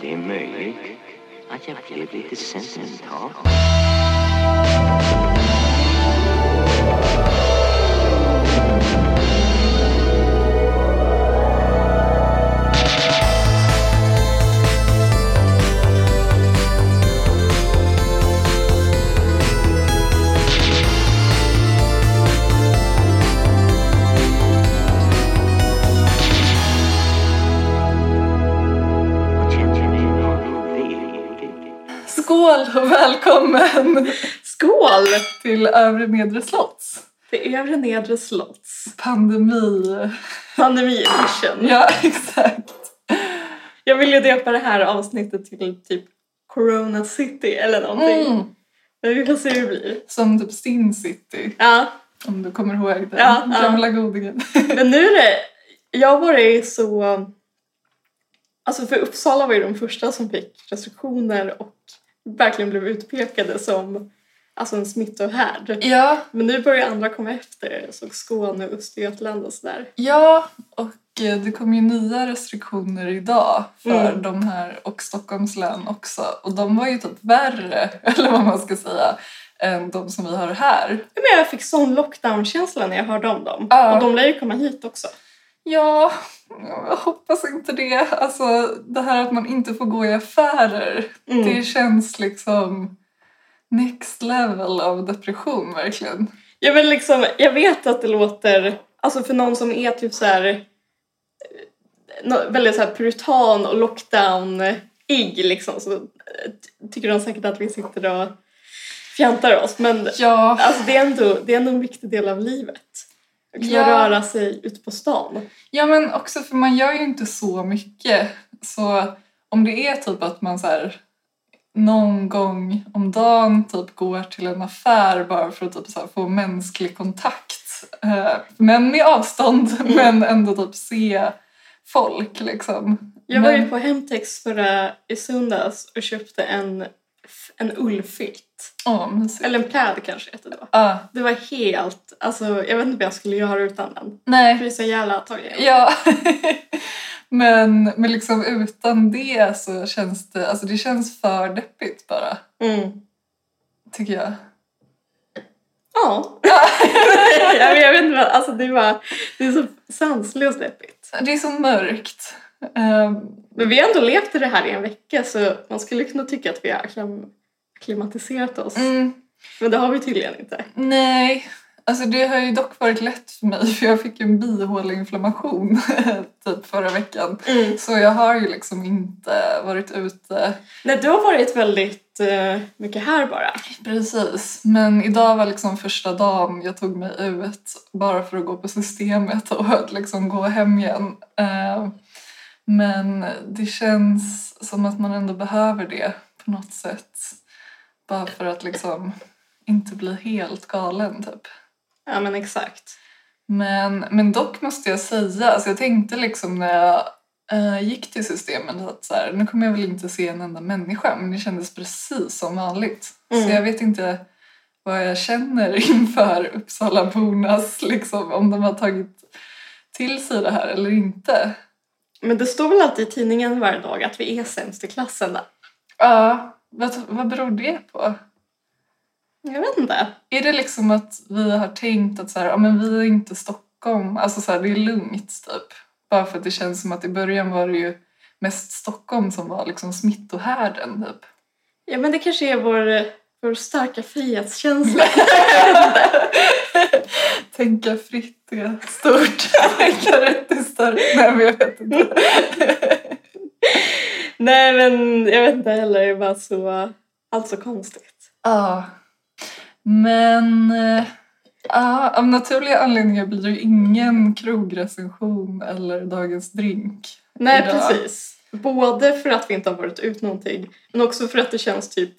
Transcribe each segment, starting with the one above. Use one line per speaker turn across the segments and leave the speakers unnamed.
Det är möjligt att jag blev lite sentimental. Och känner mig någon velig.
Skål och välkommen
Skål!
till Övre Nedre Slotts
Det är övre nedre slotts.
pandemi.
Pandemi edition.
Ja, exakt.
Jag vill ju döpa det här avsnittet till typ Corona City eller någonting.
Mm.
Men vi får se hur det blir.
Som typ Sin City,
Ja,
om du kommer ihåg den
Ja, ja.
gamla godingen.
men nu är det... Jag har varit så... Alltså för Uppsala var ju de första som fick restriktioner och verkligen blev utpekade som alltså en smittohärd.
Ja,
Men nu börjar andra komma efter, så Skåne och Östergötland och sådär.
ja, och eh, det kom ju nya restriktioner idag för
Mm.
de här och Stockholms län också. Och de var ju typ värre, eller vad man ska säga, än de som vi har här.
Men jag fick sån lockdown-känsla när jag hörde om dem.
Ja.
Och de lär ju komma hit också.
Ja, jag hoppas inte det. Alltså det här att man inte får gå i affärer.
Mm.
Det känns liksom next level av depression verkligen.
Jag, vill liksom, jag vet att det låter, alltså för någon som är typ så här, eh, nå- väldigt så här puritan och lockdown-igg liksom, så eh, ty- tycker de säkert att vi sitter och fjantar oss. Men
Ja,
alltså, det, är ändå, det är ändå en viktig del av livet. Att kunna
Ja.
röra sig ut på stan.
ja men också för man gör ju inte så mycket. Så om det är typ att man så här någon gång om dagen typ går till en affär bara för att typ så här få mänsklig kontakt. eh, Men med avstånd,
Mm.
men ändå typ se folk liksom.
Jag var ju
Men-
på Hemtex förra i söndags och köpte en, f- en ullfilt.
Åh, mysigt.
Eller en pläd kanske heter det då.
Ja,
Det var helt, alltså jag vet inte vad jag skulle göra utan den. Jag
nej.
blir så jävla tagen.
Ja. men, men liksom utan det så känns det, alltså det känns för deppigt bara,
Mm.
tycker jag.
Ja. ja men jag vet inte, vad- alltså det, var, det är så sanslöst deppigt.
Det är så mörkt. Ehm,
Men vi har ändå levt i det här i en vecka så man skulle kunna tycka att vi har klim- klimatiserat oss.
mm,
Men det har vi tydligen inte.
nej, alltså det har ju dock varit lätt för mig för jag fick ju en bihåleinflammation typ förra veckan.
Mm.
Så jag har ju liksom inte varit ute
Nej, du har varit väldigt eh, mycket här bara.
Precis, men idag var liksom första dagen jag tog mig ut bara för att gå på systemet och att liksom gå hem igen. Eh, Men det känns som att man ändå behöver det på något sätt. Bara för att liksom inte bli helt galen typ.
Ja men exakt.
Men, men dock måste jag säga, alltså jag tänkte liksom när jag eh, gick till systemet att så här, nu kommer jag väl inte se en enda människa men det kändes precis som vanligt.
Mm.
Så jag vet inte vad jag känner inför Uppsalabornas, liksom, om de har tagit till sig det här eller inte.
Men det står väl alltid i tidningen varje dag att vi är sämst i klassen. där.
Ja, vad, vad beror det på?
Jag vet inte.
Är det liksom att vi har tänkt att så här, ja, men vi är inte Stockholm, alltså så här, det är lugnt typ? Bara för att det känns som att i början var det ju mest Stockholm som var liksom smittohärden typ.
Ja men det kanske är vår, vår starka frihetskänsla.
Tänka fritt är stort, tänka rätt är större. Nej men jag vet inte.
Nej men jag vet inte heller, det är bara så, allt så konstigt.
Ja. Men eh, ja, av naturliga anledningar blir det ju ingen krogrecension eller dagens drink.
Nej,
idag.
precis. Både för att vi inte har varit ut någonting, men också för att det känns typ...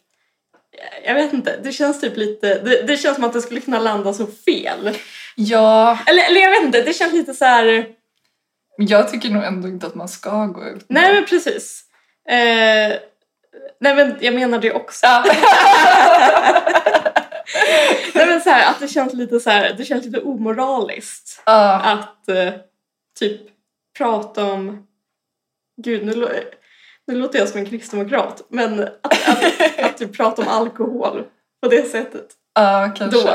Jag vet inte, det känns typ lite... Det, det känns som att det skulle kunna landa så fel.
Ja,
Eller, eller jag vet inte, det känns lite så här...
men jag tycker nog ändå inte att man ska gå ut.
Nej, men precis. Eh, nej, men jag menar det också. nej, men så här, att det känns lite så här, det känns lite omoraliskt
Ja.
att eh, typ prata om... Gud, nu, lå- Nu låter jag som en kristdemokrat, men att, att, att du pratar om alkohol på det sättet.
Ja, kanske.
Då.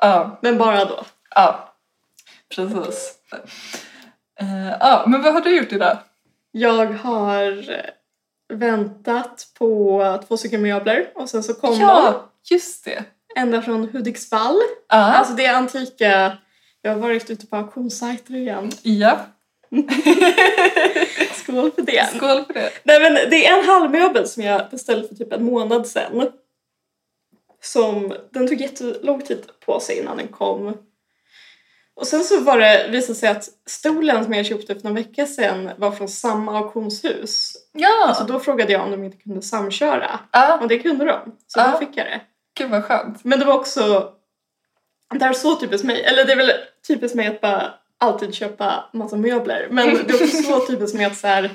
Ja,
Men bara då.
ja. Precis. Eh, ja, men vad har du gjort idag?
Jag har eh, väntat på två stycken möbler och sen så kom de
ja, just det.
ända från Hudiksvall.
Ja,
Alltså det är antika. Jag har varit ute på auktionssajter igen.
ja.
Skål för det.
Skål för det.
Nej men det är en halvmöbel som jag beställde för typ en månad sedan. Som, den tog jättelång tid på sig innan den kom. Och sen så var det, visade sig att stolen som jag köpte för några veckor sedan var från samma auktionshus.
Ja,
Så då frågade jag om de inte kunde samköra.
ja.
Och det kunde de. Så
Ja.
då fick jag det.
gud vad skönt.
Men det var också... Det här är så typiskt mig. Eller det är väl typiskt mig att bara alltid köpa massa möbler. Men det är också så typiskt mig att så här,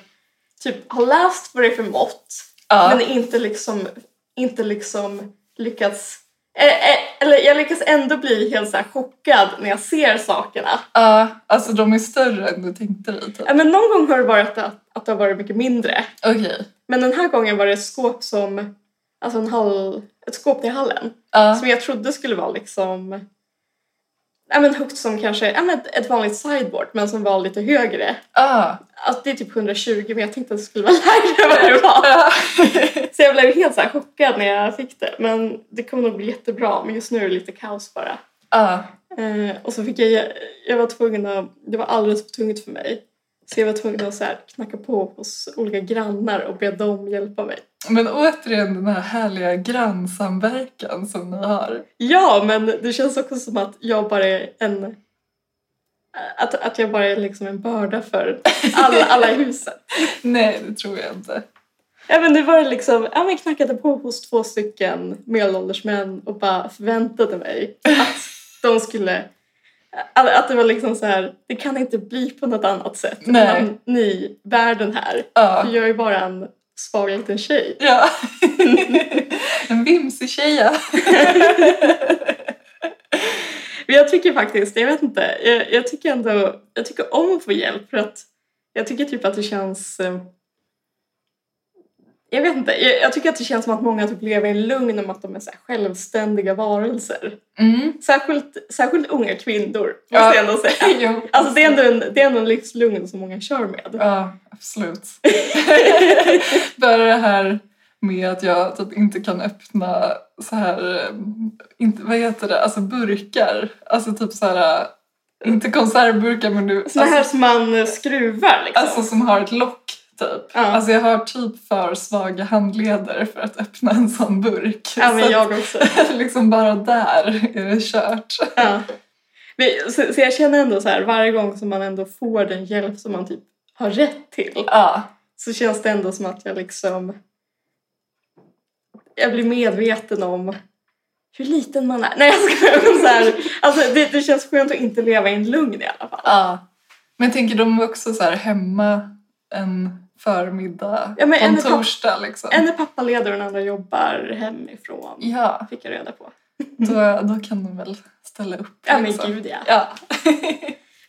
typ ha läst vad det är för mått.
Ja,
Men inte liksom, inte liksom lyckats... eh, eh, Eller jag lyckas ändå bli helt så här chockad när jag ser sakerna.
ja. alltså de är större än du tänkte dig. Typ.
Ja, Men någon gång har det varit att, att det har varit mycket mindre.
Okej.
Men den här gången var det ett skåp som... Alltså en hall, ett skåp i hallen.
Ja,
Som jag trodde skulle vara liksom ja, men högt som kanske ja, men ett vanligt sideboard men som var lite högre.
ja.
Alltså det är typ 120 men jag tänkte att det skulle vara lägre än vad det var. Så jag blev helt så här chockad när jag fick det. Men det kommer nog bli jättebra men just nu är det lite kaos bara.
Ja,
Eh, och så fick jag, jag var tvungen att, det var alldeles för tungt för mig. Så jag var tvungen att så här knacka på hos olika grannar och be dem hjälpa mig.
men återigen den här härliga grannsamverkan som ni har.
Ja, men det känns också som att jag bara är en... Att, att jag bara är liksom en börda för alla, alla i huset.
Nej, det tror jag inte.
Ja, men det var liksom, ja, men jag knackade på hos två stycken medelålders män och bara förväntade mig att de skulle... Att, att det var liksom så här, det kan inte bli på något annat sätt
Nej.
än ni bär den här.
Ja.
För jag är bara en svag liten tjej.
Ja. en vimsig tjeja.
Men jag tycker faktiskt, jag vet inte, jag, jag tycker ändå, jag tycker om att få hjälp för att jag tycker typ att det känns eh, jag vet inte, jag, jag tycker att det känns som att många typ lever i lugn om att de är så här självständiga varelser.
Mm.
Särskilt, särskilt unga kvinnor, måste
Ja.
jag ändå säga.
Jo.
Alltså det är ändå en, det är ändå en livslugn som många kör med.
Ja, absolut. Bara det här med att jag typ inte kan öppna så här, eh, inte, vad heter det, alltså burkar. Alltså typ så här, eh, inte konservburkar men du,
Såna här
alltså,
som man eh, skruvar liksom.
alltså som har ett lock typ.
Ja.
Alltså jag har typ för svaga handleder för att öppna en sån burk.
ja,
Så
men
att-
jag också.
liksom bara där är det kört.
Ja. Men, så, så jag känner ändå så här, varje gång som man ändå får den hjälp som man typ har rätt till
Ja,
så känns det ändå som att jag liksom... Jag blir medveten om hur liten man är. Nej, jag skojar. men Så här, alltså, det, det känns skönt att inte leva i en lugn i alla fall.
ja. Men jag tänker de är också så här hemma en förmiddag
Ja, men
på en
en etapp-
torsdag liksom.
En är pappaledig och den andra jobbar hemifrån.
Ja,
Fick jag reda på.
då, då kan de väl ställa upp.
Mm. Ja, men
liksom.
gud ja.
Ja.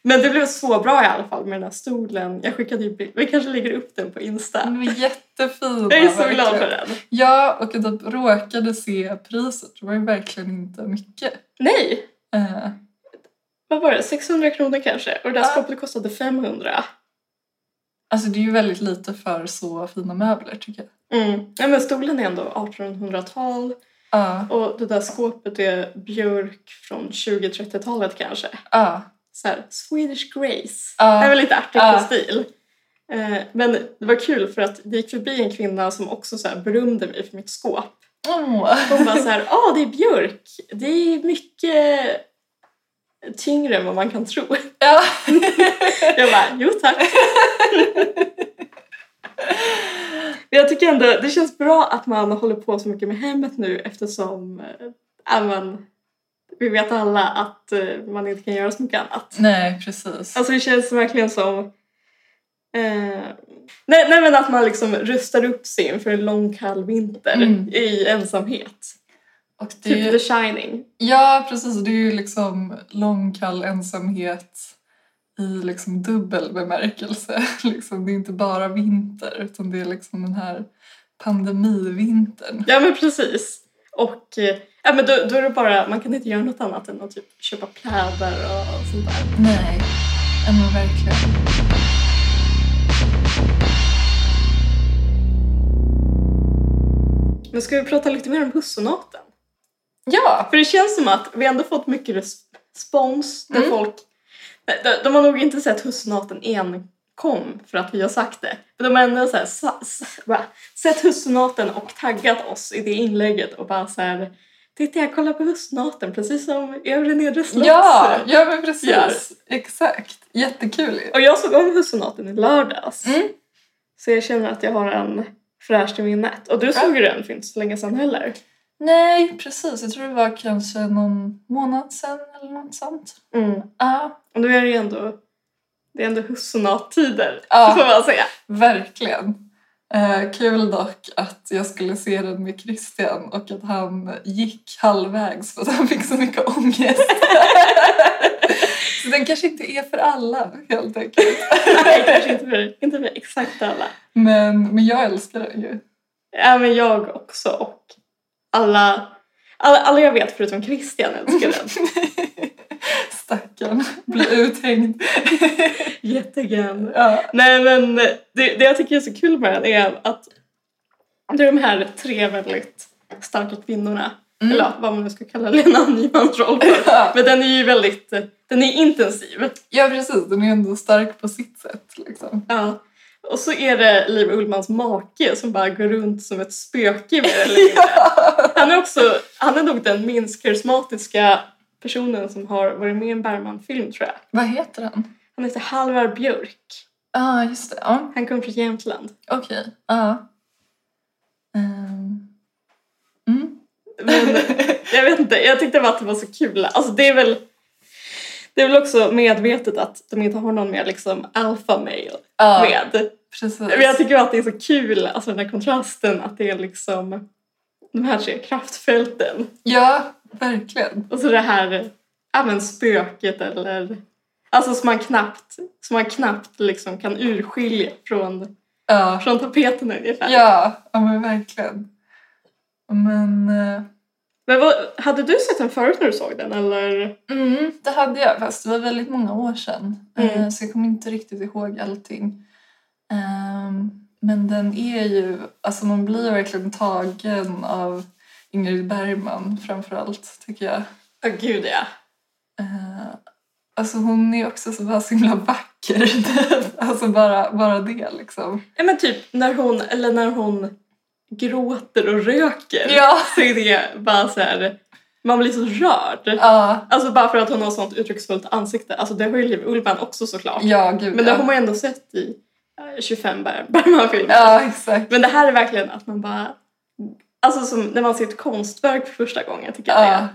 Men det blev så bra i alla fall med den här stolen. Jag skickade ju bild. Vi kanske lägger upp den på Insta.
De är jättefina.
Jag är så
Mm. verkligen.
glad för den.
Ja, och jag typ råkade se priset. Det var ju verkligen inte mycket.
Nej,
Eh,
vad var det, 600 kronor kanske? Och det där
Ja.
skåpet kostade 500.
alltså det är ju väldigt lite för så fina möbler tycker jag.
Mm. Ja, men stolen är ändå 1800-tal
Ja,
och det där skåpet är björk från 20-30-talet kanske.
ja,
Så här, Swedish Grace.
Ja.
Det är väl lite art
Ja.
deco-stil. Eh, Men det var kul för att det gick förbi en kvinna som också så här berömde mig för mitt skåp.
Åh.
Hon bara så här, ja ah, det är björk. Det är mycket tyngre än vad man kan tro.
ja.
Jag bara, jo tack. Men jag tycker ändå det känns bra att man håller på så mycket med hemmet nu eftersom eh, ja, men, vi vet alla att eh, man inte kan göra så mycket annat.
Nej, precis.
Alltså det känns verkligen som eh, nej, nej men att man liksom rustar upp sig inför en lång kall vinter
Mm.
i ensamhet.
Och det är
Typ
ju-
The Shining.
Ja, precis. Det är ju liksom lång, kall ensamhet. i liksom dubbel bemärkelse. Liksom, det är inte bara vinter utan det är liksom den här pandemivintern.
Ja men precis. Och eh, ja, men då, då är det bara, man kan inte göra något annat än att typ köpa kläder och sånt där.
Nej, ja, men verkligen.
Men ska vi prata lite mer om hussonaten?
Ja,
För det känns som att vi ändå fått mycket res- respons där
Mm.
folk... Nej, De, de har nog inte sett hussonaten enkom för att vi har sagt det. Men de har ändå så här, sa, sa, va? sett hussonaten och taggat oss i det inlägget och bara så här... Titta jag kollar på hussonaten precis som övre nedre slotts.
ja, ja men precis.
Ja.
Exakt. Jättekul ju.
Och jag såg om hussonaten i lördags.
Mm.
Så jag känner att jag har en fräsch i minnet. Och du såg ju den för inte så länge sedan heller.
Nej, precis. Jag tror det var kanske någon månad sedan eller något sånt. Ja,
Och nu är det ju ändå, det är ändå hussonatt-tider.
Ja.
Får man säga.
verkligen. Eh, kul dock att jag skulle se den med Christian och att han gick halvvägs för att han fick så mycket ångest. så den kanske inte är för alla helt enkelt.
Nej, kanske inte för, inte för exakt alla.
Men, men jag älskar den ju.
Ja, men jag också och alla, alla, alla jag vet förutom Christian älskar den.
Stackarn, blir uthängd.
Jättegärna.
ja.
Nej, men det, det jag tycker är så kul med den är att det är de här tre väldigt starka kvinnorna.
Mm.
Eller vad man nu ska kalla Lena Nymans roll för.
ja,
Men den är ju väldigt, eh, den är intensiv.
Ja, precis. Den är ändå stark på sitt sätt. Liksom.
Ja. Och så är det Liv Ullmans make som bara går runt som ett spöke mer eller mindre. Han är också, han är nog den minst karismatiska personen som har varit med i en Bergman-film tror jag.
Vad heter han?
Han heter Halvar Björk.
Ja, ah, just det. Ja.
Han kommer från Jämtland.
Okej, ja. Ehm. Mm.
Men jag vet inte, jag tyckte bara att det var så kul. Alltså det är väl, det är väl också medvetet att de inte har någon mer liksom alpha male
Ja,
med.
precis.
Men jag tycker bara att det är så kul, alltså den här kontrasten att det är liksom de här tre kraftfälten
Ja, verkligen.
och så det här ja, men spöket eller alltså som man knappt, som man knappt liksom kan urskilja från,
Ja,
från tapeten ungefär.
ja, ja men verkligen. Men eh,
Men vad, hade du sett den förut när du såg den eller?
mm, det hade jag, fast det var väldigt många år sedan. Eh,
Mm.
Så jag kommer inte riktigt ihåg allting. Ehm, men den är ju, alltså man blir verkligen tagen av Ingrid Bergman framförallt tycker jag.
Ja gud ja.
Eh, alltså hon är också så bara så himla vacker. alltså bara, bara det liksom.
Ja men typ när hon, eller när hon gråter och röker
Ja.
så är det bara så här, man blir så rörd.
Ja,
Alltså bara för att hon har sånt uttrycksfullt ansikte. Alltså det har ju Liv Ullman också såklart.
ja gud
Men det
ja.
har man ju ändå sett i eh, 25 Ber- Bergman-filmer.
Ja, exakt.
Men det här är verkligen att man bara... Alltså som när man ser ett konstverk för första gången tycker jag
Ja.
det.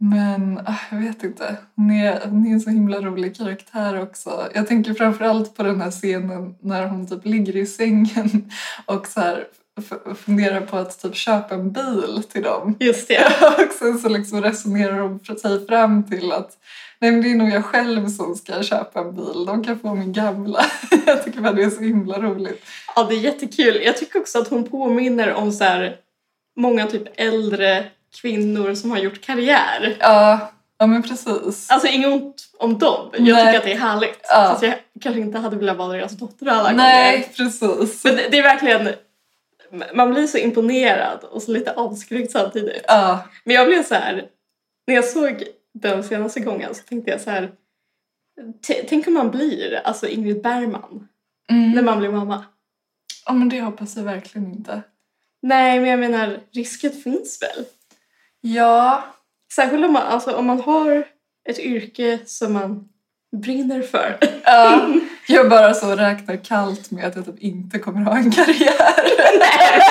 Men ah, jag vet inte. Hon är, hon är en så himla rolig karaktär också. Jag tänker framförallt på den här scenen när hon typ ligger i sängen och så här f- funderar på att typ köpa en bil till dem.
Just det.
Ja, och sen så liksom resonerar de sig fram till att nej men det är nog jag själv som ska köpa en bil, de kan få min gamla. jag tycker bara det är så himla roligt.
Ja, det är jättekul. Jag tycker också att hon påminner om så här många typ äldre kvinnor som har gjort karriär.
Ja, ja men precis.
Alltså inget ont om dem. Jag
Nej.
tycker att det är härligt.
Ja.
Fast jag kanske inte hade velat vara deras dotter alla gånger.
Nej, precis.
Men det, det är verkligen... Man blir så imponerad och så lite avskräckt samtidigt.
Ja,
Men jag blev så här, när jag såg den senaste gången så tänkte jag så här, t- tänk om man blir alltså Ingrid Bergman när
mm.
man blir mamma.
ja men det hoppas jag verkligen inte.
Nej, men jag menar risken finns väl?
Ja,
Särskilt om man, alltså, om man har ett yrke som man brinner för.
ja. jag bara så räknar kallt med att jag typ inte kommer ha en karriär.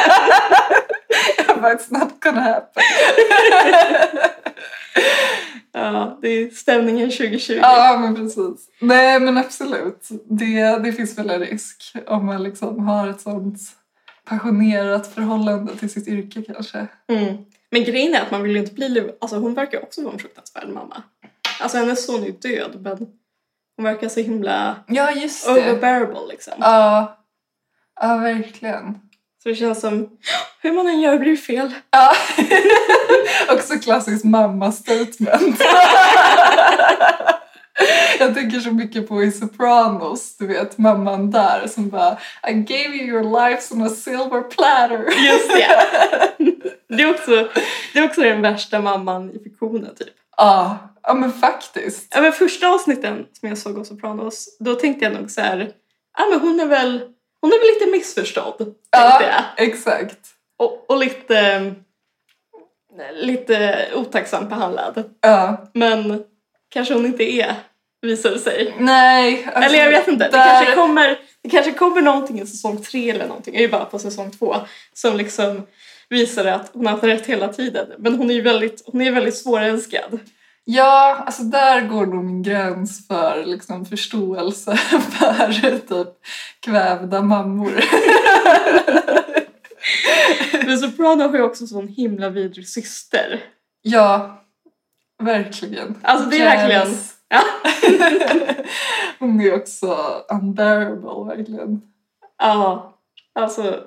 jag bara, it's not gonna happen.
ja, det är stämningen 2020.
Ja, men precis. Nej, men absolut. Det, det finns väl en risk om man liksom har ett sånt passionerat förhållande till sitt yrke kanske.
Mm. Men grejen är att man vill ju inte bli Liv. Alltså hon verkar också vara en fruktansvärd mamma. Alltså hennes son är ju död men Hon verkar så himla
Ja, just det.
overbearable liksom.
Ja. ja, verkligen.
Så det känns som, hur man än gör blir det fel.
Ja. Också klassiskt mamma-statement. Jag tänker så mycket på i Sopranos, du vet mamman där som bara I gave you your life on a silver platter.
Just det. Det är också, det är också den värsta mamman i fiktionen typ.
Ja, ja men faktiskt.
Ja, men första avsnitten som jag såg av Sopranos, då tänkte jag nog så här, ja men hon är väl, hon är väl lite missförstådd.
Ja,
Tänkte jag.
exakt.
Och, och lite, lite otacksamt behandlad.
Ja.
Men kanske hon inte är, visar det sig.
Nej. alltså,
Eller jag vet inte, det
där-
kanske, kommer, det kanske kommer någonting i säsong tre eller någonting, jag är ju bara på säsong två, som liksom visar att hon har haft rätt hela tiden. Men hon är ju väldigt, hon är väldigt svårälskad.
Ja, alltså där går nog min gräns för liksom, förståelse för typ kvävda mammor.
Men Soprano har ju också sån himla vidrig syster.
Ja, verkligen.
Alltså, det är verkligen-
Jens.
Ja.
Hon är också unbearable, verkligen.
Ja, alltså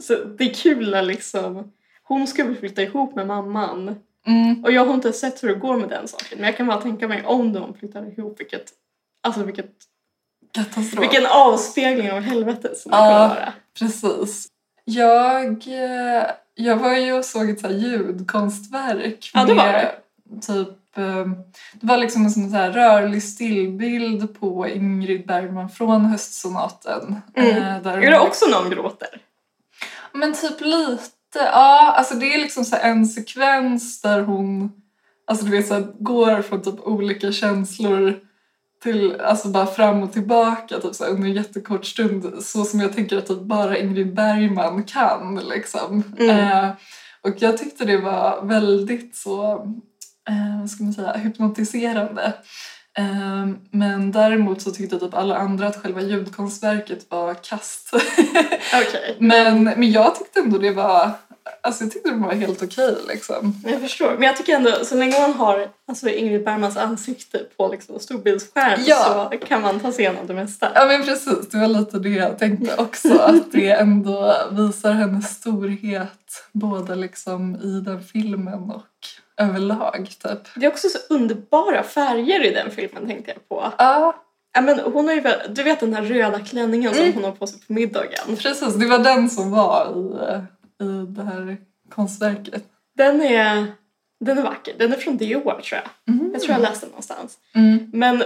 så det är kul när liksom hon ska väl flytta ihop med mamman.
Mm.
Och jag har inte sett hur det går med den saken. Men jag kan bara tänka mig om de flyttar ihop vilket, alltså vilket,
Katastrof.
vilken avspegling av helvetet som det
Ja.
kommer vara.
Precis. Jag, eh, jag var ju och såg ett så här ljudkonstverk.
Ja, det var
med Typ, eh, det var liksom en sån här rörlig stillbild på Ingrid Bergman från höstsonaten.
Mm.
eh, Där
Är det också någon gråter?
Men typ lite. Ja, alltså det är liksom så här en sekvens där hon alltså du vet, så här, går från typ olika känslor till, alltså bara fram och tillbaka typ så här, under en jättekort stund. Så som jag tänker att typ bara Ingrid Bergman kan. Liksom.
Mm.
Eh, och jag tyckte det var väldigt så, eh, vad ska man säga, hypnotiserande. Eh, men däremot så tyckte typ alla andra att själva ljudkonstverket var kast.
Okej,
Men, men jag tyckte ändå det var Alltså jag tyckte det var helt okej liksom.
jag förstår. Men jag tycker ändå, så länge man har alltså, Ingrid Bergmans ansikte på liksom, storbildsskärm
Ja.
så kan man ta sig igenom det mesta.
Ja men precis, det var lite det jag tänkte också. Att det ändå visar hennes storhet både liksom i den filmen och överlag typ.
Det är också så underbara färger i den filmen tänkte jag på.
Ja,
Ja, men hon har ju väl, du vet den här röda klänningen som
Mm.
hon har på sig på middagen.
precis. Det var den som var i, i det här konstverket.
Den är, den är vacker. Den är från Dior tror jag.
Mm.
Jag tror jag läste den någonstans.
Mm.
Men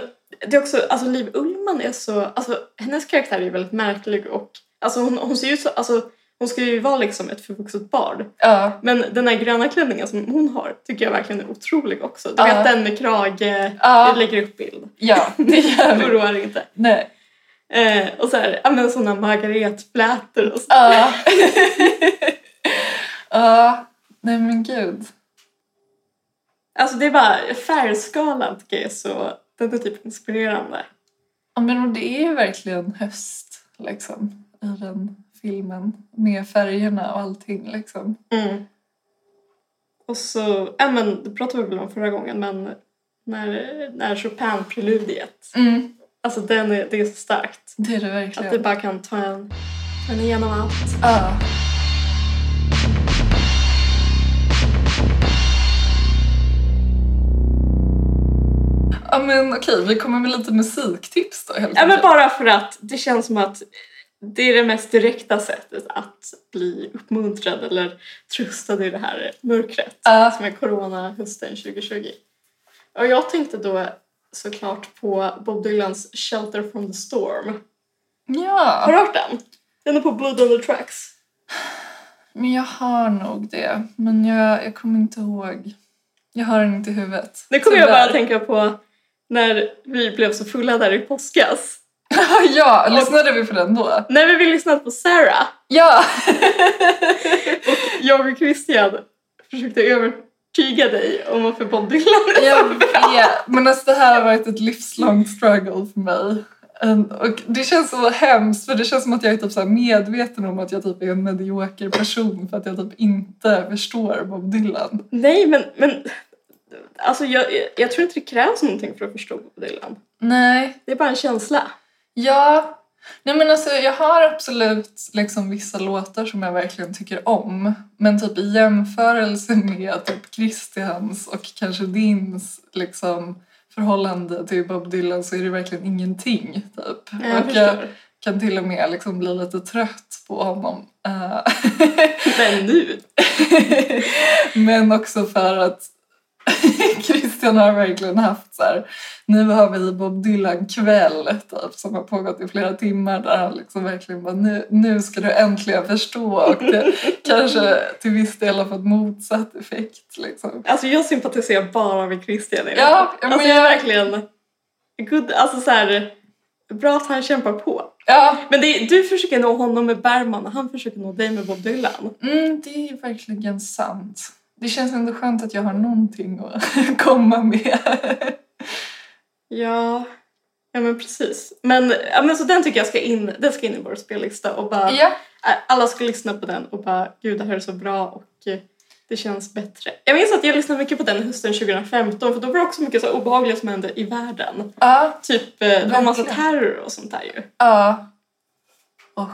det är också, alltså Liv Ullman är så, alltså hennes karaktär är väldigt märklig och alltså hon, hon ser ju ut så, alltså hon ska ju vara liksom ett förvuxet barn.
Ja,
Men den här gröna klänningen som hon har tycker jag verkligen är otrolig också. Du
Ja.
vet den med krage,
Ja.
vi lägger upp bild.
ja det gör vi.
Oroa dig inte.
Nej.
Eh, och så här, ja men sådana margaretflätor och så.
Ja. Ja, nej men gud.
Alltså det är bara färgskalan tycker jag är så, den är typ inspirerande.
Ja, men det är ju verkligen höst liksom, i den filmen med färgerna och allting. Liksom.
Mm. Och så, ja men det pratade vi väl om förra gången men när, när Chopin-preludiet, alltså den är, det är så starkt.
Mm, Det är det
Att det
verkligen.
bara kan ta en, ta en igenom allt.
Ja. Ja men okej, vi kommer med lite musiktips då helt
Ja men
enkelt.
bara för att det känns som att det är det mest direkta sättet att bli uppmuntrad eller tröstad i det här mörkret.
Ja.
som är corona hösten 2020. Och jag tänkte då såklart på Bob Dylans Shelter from the Storm. Har
ja,
du hört den? Den är på Blood on the Tracks.
men jag har nog det. Men jag, jag kommer inte ihåg. Jag har den inte i huvudet.
Nu kommer jag
Tyvärr.
bara att tänka på när vi blev så fulla där i påskas.
ja, lyssnade vi på den då?
När vi lyssnade på Sarah
Ja!
och jag och Christian försökte övertyga dig om varför Bob Dylan är
Jag
så bra.
vet, men alltså det här har varit ett livslångt struggle för mig. En- Och det känns så hemskt för det känns som att jag är typ så här medveten om att jag typ är en medioker person för att jag typ inte förstår Bob Dylan.
Nej men, men Alltså jag, jag tror inte det krävs någonting för att förstå Bob Dylan.
Nej,
Det är bara en känsla.
ja. Nej men alltså jag har absolut liksom vissa låtar som jag verkligen tycker om. Men typ i jämförelse med typ Christians och kanske dins liksom förhållande till Bob Dylan så är det verkligen ingenting typ.
Jag
och jag
förstår.
kan till och med liksom bli lite trött på honom. Eh,
Men nu.
Men också för att Christian har verkligen haft så här, nu har vi Bob Dylan-kväll typ, som har pågått i flera timmar där han liksom verkligen bara, nu, nu ska du äntligen förstå och det kanske till viss del har fått motsatt effekt. Liksom.
Alltså jag sympatiserar bara med Christian i det
Ja,
här.
ja, men
Alltså jag är
jag-
verkligen... Good, alltså så här, bra att han kämpar på.
Ja,
Men det, är- du försöker nå honom med Bergman och han försöker nå dig med Bob Dylan.
mm, det är verkligen sant. Det känns ändå skönt att jag har någonting att komma med.
Ja, ja men precis. Men, ja, men så den tycker jag ska in, den ska in i vår spellista och bara,
Ja,
ä, alla ska lyssna på den och bara gud det här är så bra och eh, det känns bättre. Jag minns att jag lyssnade mycket på den hösten 2015 för då var det också mycket så här obehagligt som hände i världen.
ja,
Typ eh, det var en massa
Verkligen.
terror och sånt där ju.
ja. Och,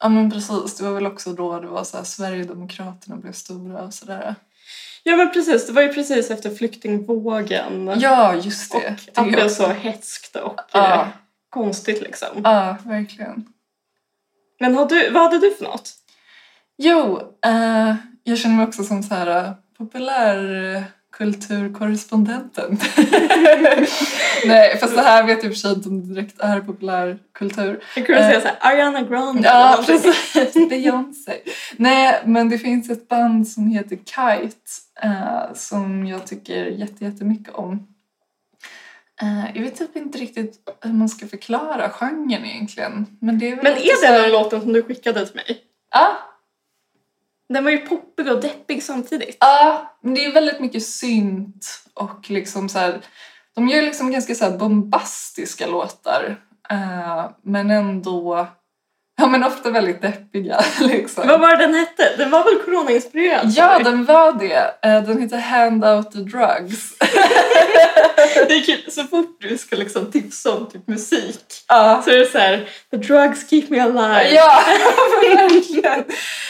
ja men precis, det var väl också då det var så här, Sverigedemokraterna blev stora och sådär.
Ja men precis, det var ju precis efter flyktingvågen.
Ja, just
och
det.
att
det
det blev
också.
så hetskt och eh,
Ja,
konstigt liksom.
ja, verkligen.
Men har du, vad hade du för något?
Jo, eh, jag känner mig också som så här eh, populärkulturkorrespondenten. Nej, fast det här vet jag i och för sig inte om det direkt är populärkultur.
Jag kunde
Eh.
säga såhär Ariana Grande. eller
Ja,
någonting.
precis. Beyoncé. Nej, men det finns ett band som heter Kite eh, som jag tycker jätte, jättemycket om. Eh, jag vet typ inte riktigt hur man ska förklara genren egentligen. Men, det är, väl
Men
lite
är
så
det
här-
den låten som du skickade till mig?
Ja,
Den var ju poppig och deppig samtidigt.
Ja, men det är väldigt mycket synt och liksom så här, de gör liksom ganska så här bombastiska låtar. eh, men ändå, ja men ofta väldigt deppiga
Vad
liksom.
var det den hette? Den var väl coronainspirerad?
Ja,
den...
den var Alltså, det. Eh, den heter Hand Out the Drugs.
det är kul. Så fort du ska liksom tipsa om typ musik
Ja.
så är det så här The drugs keep me alive.
Ja, verkligen.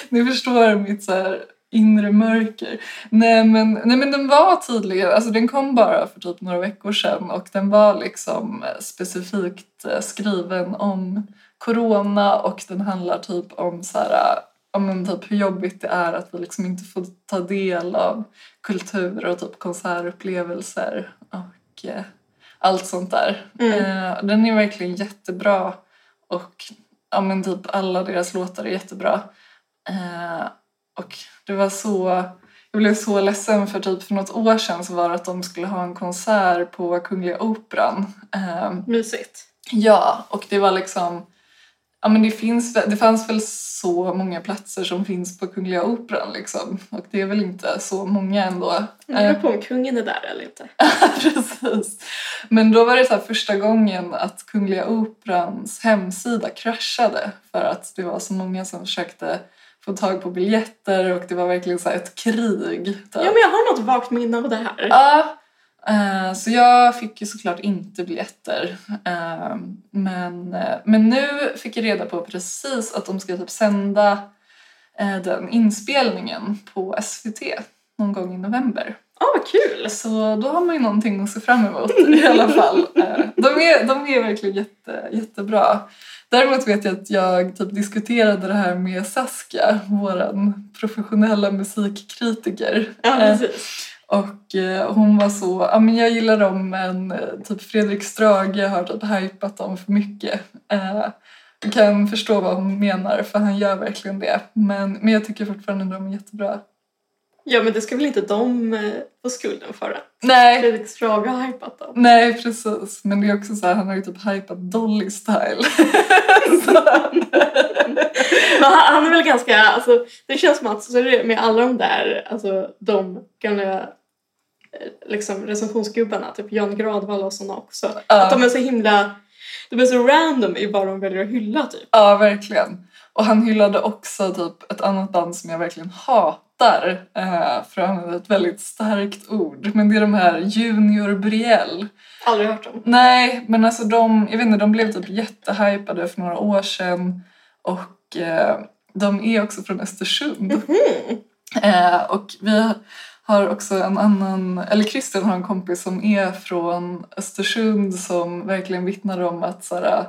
Ni förstår mitt så här inre mörker. Nej men, nej men den var tydligen, alltså den kom bara för typ några veckor sedan och den var liksom eh, specifikt eh, skriven om corona och den handlar typ om så här, eh, ja, men typ hur jobbigt det är att vi liksom inte får ta del av kultur och typ konsertupplevelser och eh, allt sånt där.
Mm.
Eh, Den är verkligen jättebra och ja, men typ alla deras låtar är jättebra. Eh, och det var så... Jag blev så ledsen för typ för något år sedan så var det att de skulle ha en konsert på Kungliga Operan. Eh,
Mysigt.
ja, och det var liksom... Ja, men det, finns, vä- det fanns väl så många platser som finns på Kungliga Operan liksom. Och det är väl inte så många ändå.
Mm, Det beror
Eh,
på om kungen är där eller inte.
Precis. Men då var det så här första gången att Kungliga Operans hemsida kraschade för att det var så många som försökte få tag på biljetter och det var verkligen så här ett krig. typ.
Ja men jag har något vagt minne av det här.
Ja. Eh, Så jag fick ju såklart inte biljetter. Eh, Men, eh, men nu fick jag reda på precis att de ska typ sända eh, den inspelningen på SVT någon gång i november.
Ah vad kul!
Så då har man ju någonting att se fram emot i alla fall. Eh, De är, de är verkligen jätte, jättebra. Däremot vet jag att jag typ diskuterade det här med Saskia, vår professionella musikkritiker.
Ja
Eh,
precis.
och eh, hon var så, ja men jag gillar dem men eh, typ Fredrik Strage har typ hypat dem för mycket. Eh, jag kan förstå vad hon menar för han gör verkligen det. Men, men jag tycker fortfarande de är jättebra.
Ja men det ska väl inte de eh, få skulden för det?
Nej,
Fredrik Strage har hypat dem.
Nej, precis. Men det är också så här, han har ju typ hypat Dolly Style. så,
Men han, han är väl ganska, alltså, det känns som att så är det med alla de där, alltså de gamla eh, liksom, recensionsgubbarna, typ Jan Gradvall och såna också. Att de är så himla, de är så random i vad de väljer att hylla typ.
ja, verkligen. Och han hyllade också typ ett annat band som jag verkligen hatar hattar, eh, för att använda ett väldigt starkt ord. Men det är de här Junior Brielle.
Aldrig hört om.
Nej, men alltså de, jag vet inte, de blev typ jättehypade för några år sedan. Och eh, de är också från Östersund.
Mm.
Eh, och vi har också en annan, eller Christian har en kompis som är från Östersund som verkligen vittnar om att såhär,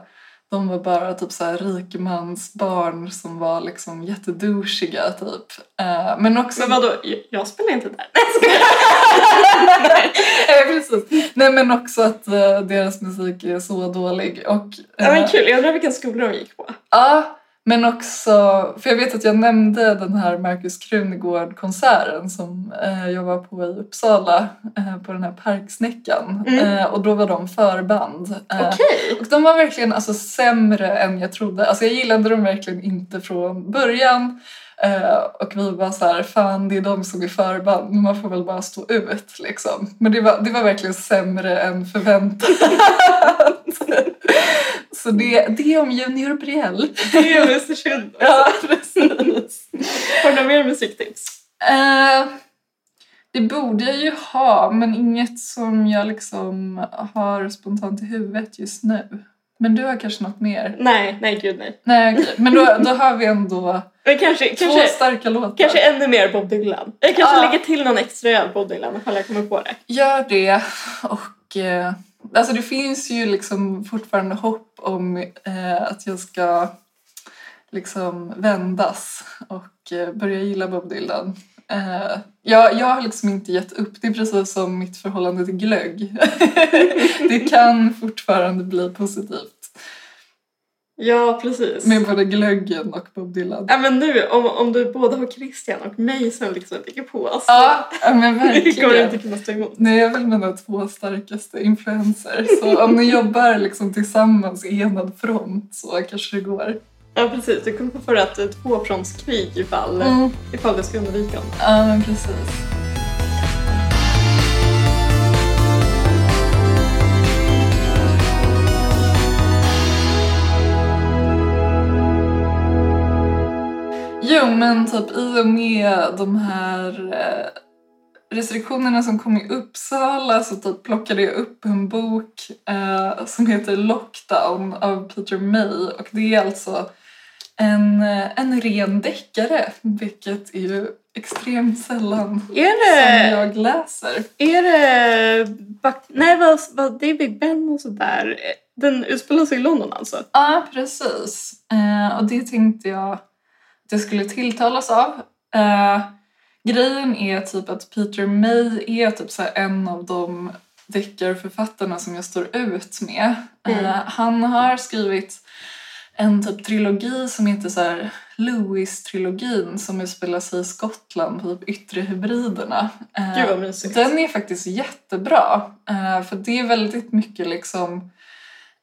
de var bara typ såhär rikemansbarn som var liksom jättedouchiga typ. Eh, men också...
Men vadå, jag- jag spelar inte där.
Eh, precis. Nej men också att eh, deras musik är så dålig. Och,
Ja,
eh,
men kul, jag undrar vilken skola de gick på.
Ja, men också, för jag vet att jag nämnde den här Markus Krunegård-konserten som eh, jag var på i Uppsala, eh, på den här Parksnäckan.
Mm.
Eh, och då var de förband. Eh,
Okej.
Och de var verkligen alltså, sämre än jag trodde. Alltså, jag gillade dem verkligen inte från början. Eh, och vi var så här, fan det är de som är förband, man får väl bara stå ut liksom. Men det var, det var verkligen sämre än förväntat. så det, det om Junior Brielle.
Det är väl Östersund.
Ja,
precis. Har du några mer musiktips?
Eh, det borde jag ju ha, men inget som jag liksom har spontant i huvudet just nu. Men du har kanske något mer?
Nej, nej gud nej.
Nej, okej. Men då, då har vi ändå
Men kanske,
två
kanske,
starka låtar.
kanske ännu mer Bob Dylan. Jag kanske
Ja.
lägger till någon extra Bob Dylan ifall jag kommer på det.
Gör det. Och, eh, alltså det finns ju liksom fortfarande hopp om eh, att jag ska liksom vändas och eh, börja gilla Bob Dylan. Eh, jag, jag har liksom inte gett upp. Det är precis som mitt förhållande till glögg. det kan fortfarande bli positivt
Ja, precis.
med både glöggen och Bob Dylan.
Ja, men nu, om, om du både har Christian och mig som liksom ligger på oss.
Ja, men
det kommer
verkligen.
inte kunna stå emot.
Nej, jag är väl mina två starkaste influenser. Så om ni jobbar liksom tillsammans i enad front så kanske det går.
Ja, precis. Du kommer få föra ett tvåfrontskrig ifall, ifall du ska undvika honom.
Mm. Ja, men precis. Jo, men typ i och med de här eh, restriktionerna som kom i Uppsala så typ plockade jag upp en bok eh, som heter Lockdown av Peter May och det är alltså en, eh, en ren deckare, vilket är ju extremt sällan som
Är det,
jag läser.
är det Buck, nej, vad, vad, det är Big Ben och sådär. Den utspelar sig i London alltså?
Ja, precis. Eh, och det tänkte jag att jag skulle tilltalas av. Eh, grejen är typ att Peter May är typ så här en av de deckarförfattarna som jag står ut med.
Mm.
Eh, han har skrivit en typ trilogi som heter så här Lewis-trilogin som utspelar sig i Skottland, typ Yttre hybriderna. Eh,
Gud vad mysigt.
Den är faktiskt jättebra. eh, För det är väldigt mycket liksom...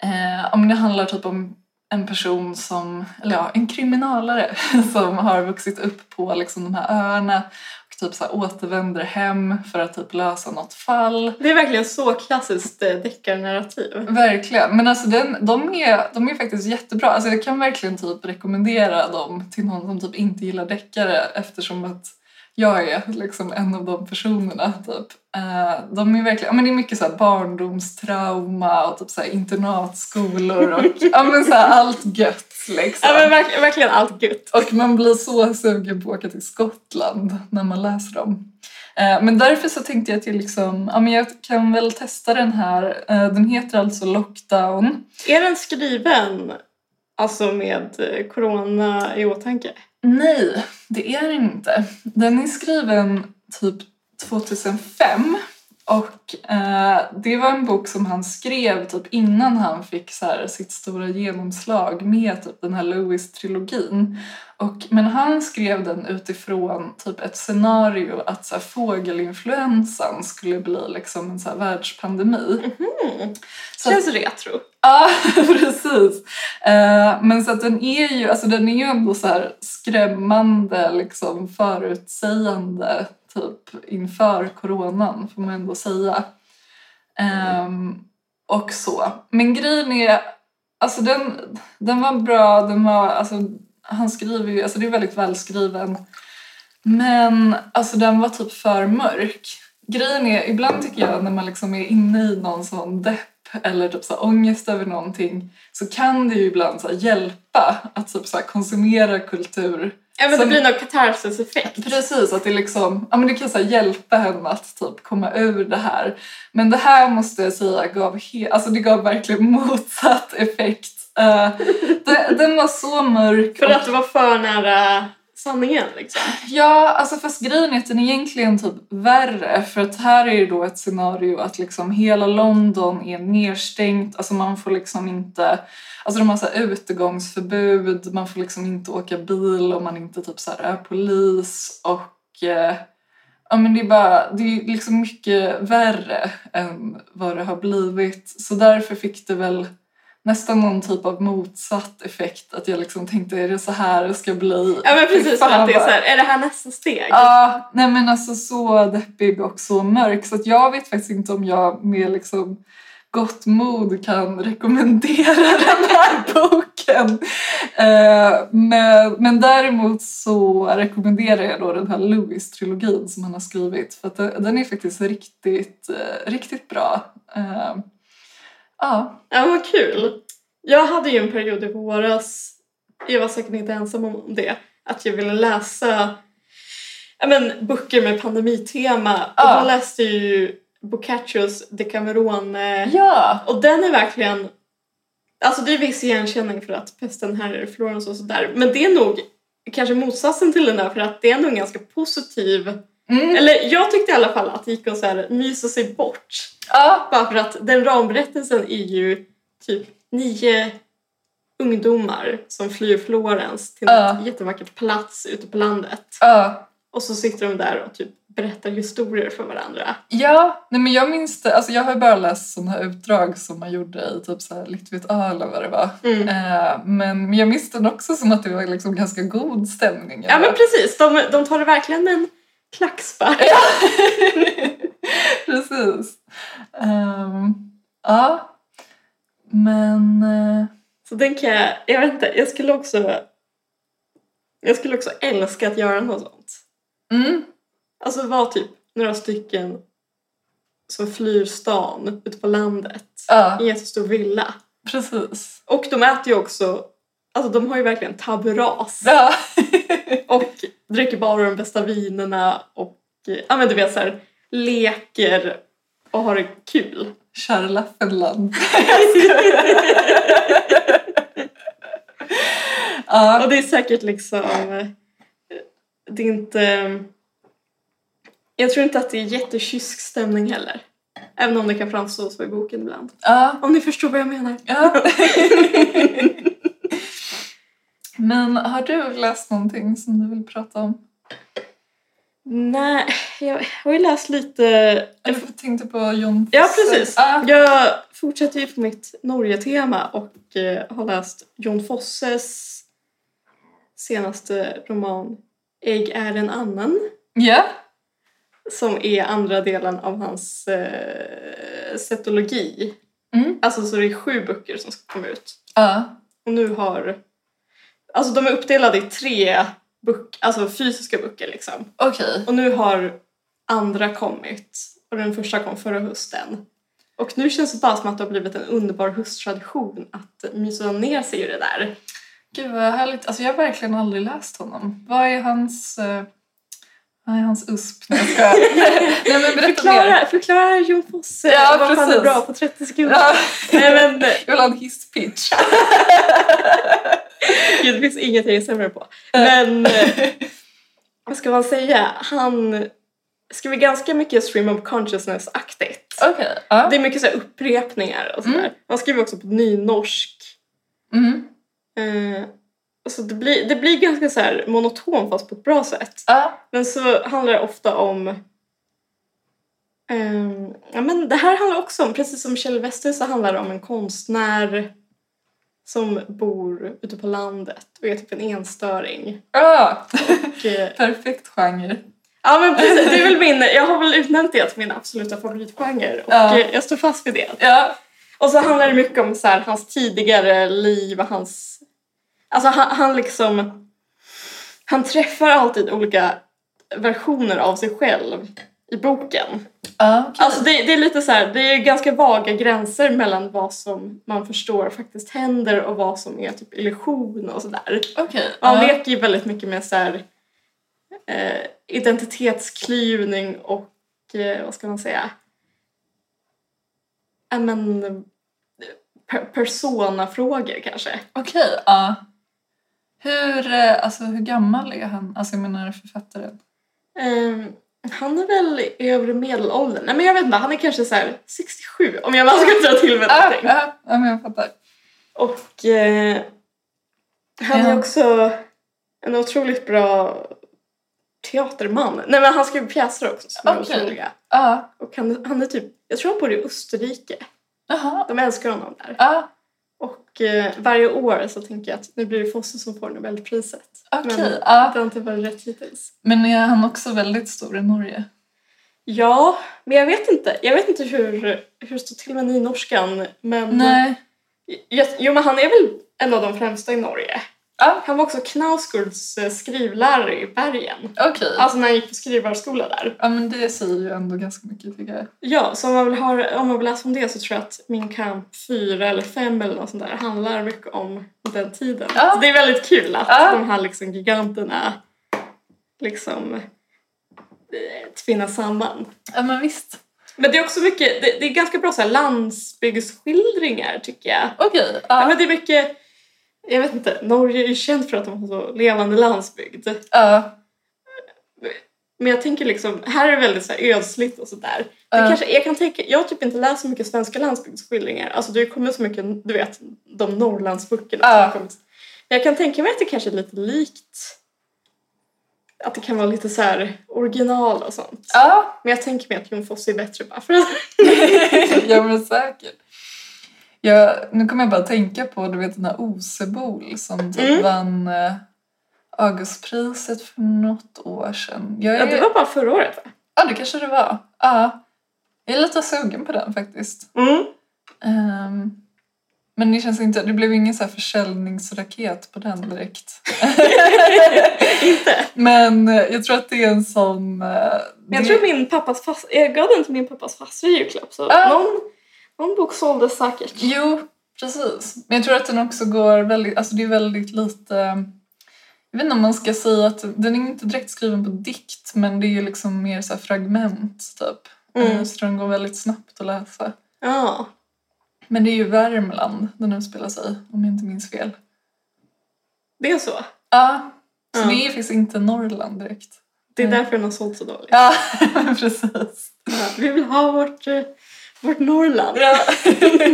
eh, Om det handlar typ om en person som... Eller ja, en kriminalare som har vuxit upp på liksom de här öarna och typ så här återvänder hem för att typ lösa något fall.
Det är verkligen så klassiskt eh, deckarnarrativ.
Mm. Verkligen. Men alltså den, de, är, de är faktiskt jättebra. Alltså jag kan verkligen typ rekommendera dem till någon som typ inte gillar deckare eftersom att jag är liksom en av de personerna. Typ. Eh, de är verkligen, ja, men det är mycket så här barndomstrauma och typ så här internatskolor och ja, men så här allt gött. Liksom.
Ja, men verkligen, verkligen allt gött.
Och man blir så sugen på att åka till Skottland när man läser dem. Eh, Men därför så tänkte jag att jag, liksom, ja, men jag kan väl testa den här. Eh, Den heter alltså Lockdown.
Är den skriven alltså med eh, corona i åtanke?
Nej, det är den inte. Den är skriven typ 2005. Och eh, det var en bok som han skrev typ innan han fick så här, sitt stora genomslag med typ, den här Lewis-trilogin. Och, men han skrev den utifrån typ ett scenario att så här, fågelinfluensan skulle bli liksom en så här, världspandemi.
Mm.
Så att-
Känns retro.
Ja, precis. Eh, men så att den är ju, alltså den är ju ändå så här skrämmande, liksom förutsägande typ inför coronan får man ändå säga. Ehm, och så. Men grejen är, alltså den, den var bra, den var, alltså han skriver ju, alltså det är väldigt välskriven Men alltså den var typ för mörk. Grejen är, ibland tycker jag när man liksom är inne i någon sån depp eller typ så här ångest över någonting så kan det ju ibland så här hjälpa att typ så här konsumera kultur.
Ja, men det
Som-
blir någon katarsis-effekt.
Precis, att det liksom, ja men det kan så här hjälpa henne att typ komma ur det här. Men det här måste jag säga gav, he- alltså det gav verkligen motsatt effekt. Eh, det, den var så mörk.
För
och-
att det var för nära sanningen liksom.
Ja, alltså fast grejen är att den är egentligen typ värre för att här är ju då ett scenario att liksom hela London är nedstängt, alltså man får liksom inte, alltså de har så här utegångsförbud, man får liksom inte åka bil om man inte typ så här är polis och eh, ja men det är bara, det är liksom mycket värre än vad det har blivit så därför fick det väl nästan någon typ av motsatt effekt att jag liksom tänkte är det så här det ska bli?
Ja men
Fy
precis,
fan,
för att det är
vad-
så här, är det här nästa steg?
Ja, nej men alltså så deppig och så mörk så att jag vet faktiskt inte om jag med liksom gott mod kan rekommendera den här boken. Eh, Men, men däremot så rekommenderar jag då den här Lewis-trilogin som han har skrivit för att den den är faktiskt riktigt, eh, riktigt bra. Eh, Ja,
Ja, vad kul. Jag hade ju en period i våras, jag var säkert inte ensam om det, att jag ville läsa ja, men, böcker med pandemitema.
Ja.
Och då läste jag ju Boccaccios Decamerone.
ja,
Och den är verkligen... Alltså det är viss igenkänning för att pesten här i Florens och sådär. Men det är nog kanske motsatsen till den där för att det är nog en ganska positiv...
mm.
Eller jag tyckte i alla fall att det gick att så här, mysa sig bort.
ja,
Bara för att den ramberättelsen är ju typ nio ungdomar som flyr Florens till
Ja.
en jättevackert plats ute på landet.
ja.
Och så sitter de där och typ berättar historier för varandra.
Ja, nej men jag minns det. Alltså jag har ju bara läst sådana här utdrag som man gjorde i typ så här Litvit Ö eller vad det var.
Mm.
Eh, men, men jag minns den också som att det var liksom ganska god stämning.
Ja men precis, de, de tar det verkligen med en klackspark.
precis. Ehm, ja, men... eh,
Så den kan jag, jag vet inte, jag skulle också jag skulle också älska att göra något sånt.
mm,
Alltså vara typ några stycken som flyr stan ute på landet
ja,
i en jättestor villa.
precis.
Och de äter ju också, alltså de har ju verkligen taburas.
Ja,
Och dricker bara de bästa vinerna och eh, ja men du vet såhär leker och har det kul.
kära Lappland. Ja,
och det är säkert liksom, eh, det är inte, jag tror inte att det är jättekysk stämning heller. Även om det kan framstå så i boken ibland.
ja,
Om ni förstår vad jag menar.
ja. Men har du läst någonting som du vill prata om?
Nej, jag har ju läst lite
Jag tänkte på John
Ja,
Fosse.
precis.
Ah,
Jag fortsätter ju på mitt Norge-tema och eh, har läst Jon Fosses senaste roman Ägg är en annan
ja.
som är andra delen av hans eh, setologi.
Mm.
Alltså så det är sju böcker som ska komma ut.
Ja.
Och nu har... Alltså de är uppdelade i tre bok, alltså fysiska böcker liksom.
Okej.
Och nu har andra kommit och den första kom förra hösten. Och nu känns det bara som att det har blivit en underbar hösttradition att mysa ner sig i det där.
Gud vad härligt. Alltså jag har verkligen aldrig läst honom. Vad är hans... eh, vad är hans USP? Nej, jag skojar. Nej men berätta mer.
Förklara, förklara Jon Fosse
Ja,
vad fan är
precis.
bra på 30 sekunder.
Ja,
Nej men
jag vill ha en hisspitch.
gud, det finns inget jag är sämre på. Men eh, vad ska man säga? Han skriver ganska mycket stream of consciousness-aktigt.
Okej. Ja.
Det är mycket så här upprepningar och sådär.
Mm.
Han skriver också på nynorsk.
Mm.
Eh, så det blir, det blir ganska så här monoton fast på ett bra sätt.
Ja.
Men så handlar det ofta om... ehm, ja, men det här handlar också om, precis som Kjell Wester så handlar det om en konstnär som bor ute på landet och är typ en enstöring.
Ja.
Och, eh,
Perfekt genre.
ja men precis, det är väl min, jag har väl utnämnt det till min absoluta favoritgenre och
Ja.
eh, jag står fast vid det.
Ja.
Och så handlar det mycket om så här, hans tidigare liv och hans... Alltså han, han liksom... Han träffar alltid olika versioner av sig själv i boken.
Ja, okej.
Alltså det, det är lite så här, det är ju ganska vaga gränser mellan vad som man förstår faktiskt händer och vad som är typ illusion och sådär.
Okej.
Man
ja.
leker ju väldigt mycket med så här, eh, identitetsklyvning och eh, vad ska man säga? Ja, men, eh, per- personafrågor kanske.
Okej, ja. Hur, eh, alltså, hur gammal är han? Alltså jag menar författaren.
Eh, han är väl i övre medelåldern? Nej men jag vet inte, han är kanske så här 67 om jag bara ska dra till med
Ja,
någonting.
ja, ja, men jag fattar.
Och eh, han
Ja.
är också en otroligt bra teaterman. Nej men han skriver pjäser också som
Okej.
är otroliga.
Ja,
Och han, han är typ, jag tror han bor i Österrike.
jaha.
De älskar honom där.
Ja,
Och eh, varje år så tänker jag att nu blir det Fosse som får Nobelpriset.
okej.
Men
ja.
det har inte varit rätt hittills.
Men är han också väldigt stor i Norge?
Ja, men jag vet inte. Jag vet inte hur, hur det står till med nynorskan. Men
Nej.
Jo, jo, men han är väl en av de främsta i Norge.
Ja.
Han var också Knausgårds eh, skrivlärare i Bergen.
Okej.
Alltså när han gick på skrivarskola där.
Ja, men det säger ju ändå ganska mycket tycker jag.
Ja, så om man vill, ha, om man vill läsa om det så tror jag att Min kamp 4 eller 5 eller något sånt där handlar mycket om den tiden.
Ja.
Så det är väldigt kul att
Ja.
de här liksom giganterna liksom eh, tvinnas samman.
Ja, men visst.
Men det är också mycket, det, det är ganska bra så här landsbygdsskildringar tycker jag.
Okej.
Ja,
Ja.
men det är mycket, jag vet inte, Norge är ju känt för att de har så levande landsbygd.
Ja.
Men jag tänker liksom, här är det väldigt så här ödsligt och sådär.
Ja.
Uh. Kanske, jag kan tänka, jag har typ inte läst så mycket svenska landsbygdsskildringar. Alltså det har ju kommit så mycket, du vet, de Norrlandsböckerna som
Ja.
har kommit. Men jag kan tänka mig att det kanske är lite likt, att det kan vara lite så här original och sånt.
ja.
Men jag tänker mig att Jon Fosse är bättre bara för att...
ja men säkert. Jag, nu kommer jag bara att tänka på du vet den här Osebol som typ
Mm.
vann eh, Augustpriset för något år sedan. Jag är,
Ja, det var bara förra året va?
ja, det kanske det var. Ja. Jag är lite sugen på den faktiskt.
Mm.
Ehm, men det känns inte, det blev ingen så här försäljningsraket på den direkt.
inte?
Men eh, jag tror att det är en sån... eh,
Men
det-
jag tror min pappas fas... Jag gav den till min pappas faster i julklapp så
Ah.
någon, någon bok såldes säkert.
Jo, precis. Men jag tror att den också går väldigt, alltså det är väldigt lite, jag vet inte om man ska säga att den är inte direkt skriven på dikt men det är ju liksom mer så här fragment typ. Eh,
Mm.
Så den går väldigt snabbt att läsa.
Ja.
Men det är ju Värmland den utspelar sig om jag inte minns fel.
Det är så.
Ja, så
Ja.
det är ju faktiskt inte Norrland direkt.
Det är
Mm.
därför den har sålt så dåligt.
Ja, precis.
Vi vill ha vårt, eh, vårt Norrland.
Ja.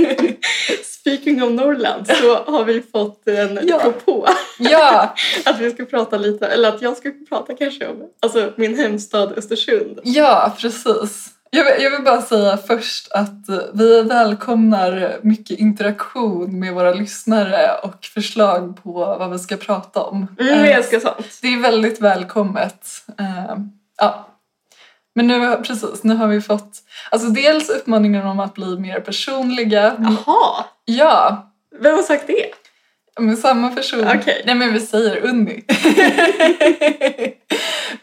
Speaking of Norrland så har vi fått en
Ja.
propå
ja,
att vi ska prata lite, eller att jag ska prata kanske om alltså min hemstad
Mm.
Östersund.
Ja, precis. Jag vill, jag vill bara säga först att eh, vi välkomnar mycket interaktion med våra lyssnare och förslag på vad vi ska prata om.
Mm,
Eh,
jag älskar sånt.
Det är väldigt välkommet. Eh, Ja. Men nu, har- precis, nu har vi fått alltså dels uppmaningen om att bli mer personliga.
Jaha,
Ja,
vem har sagt det?
men samma person.
Okej.
Nej, men vi säger Unni.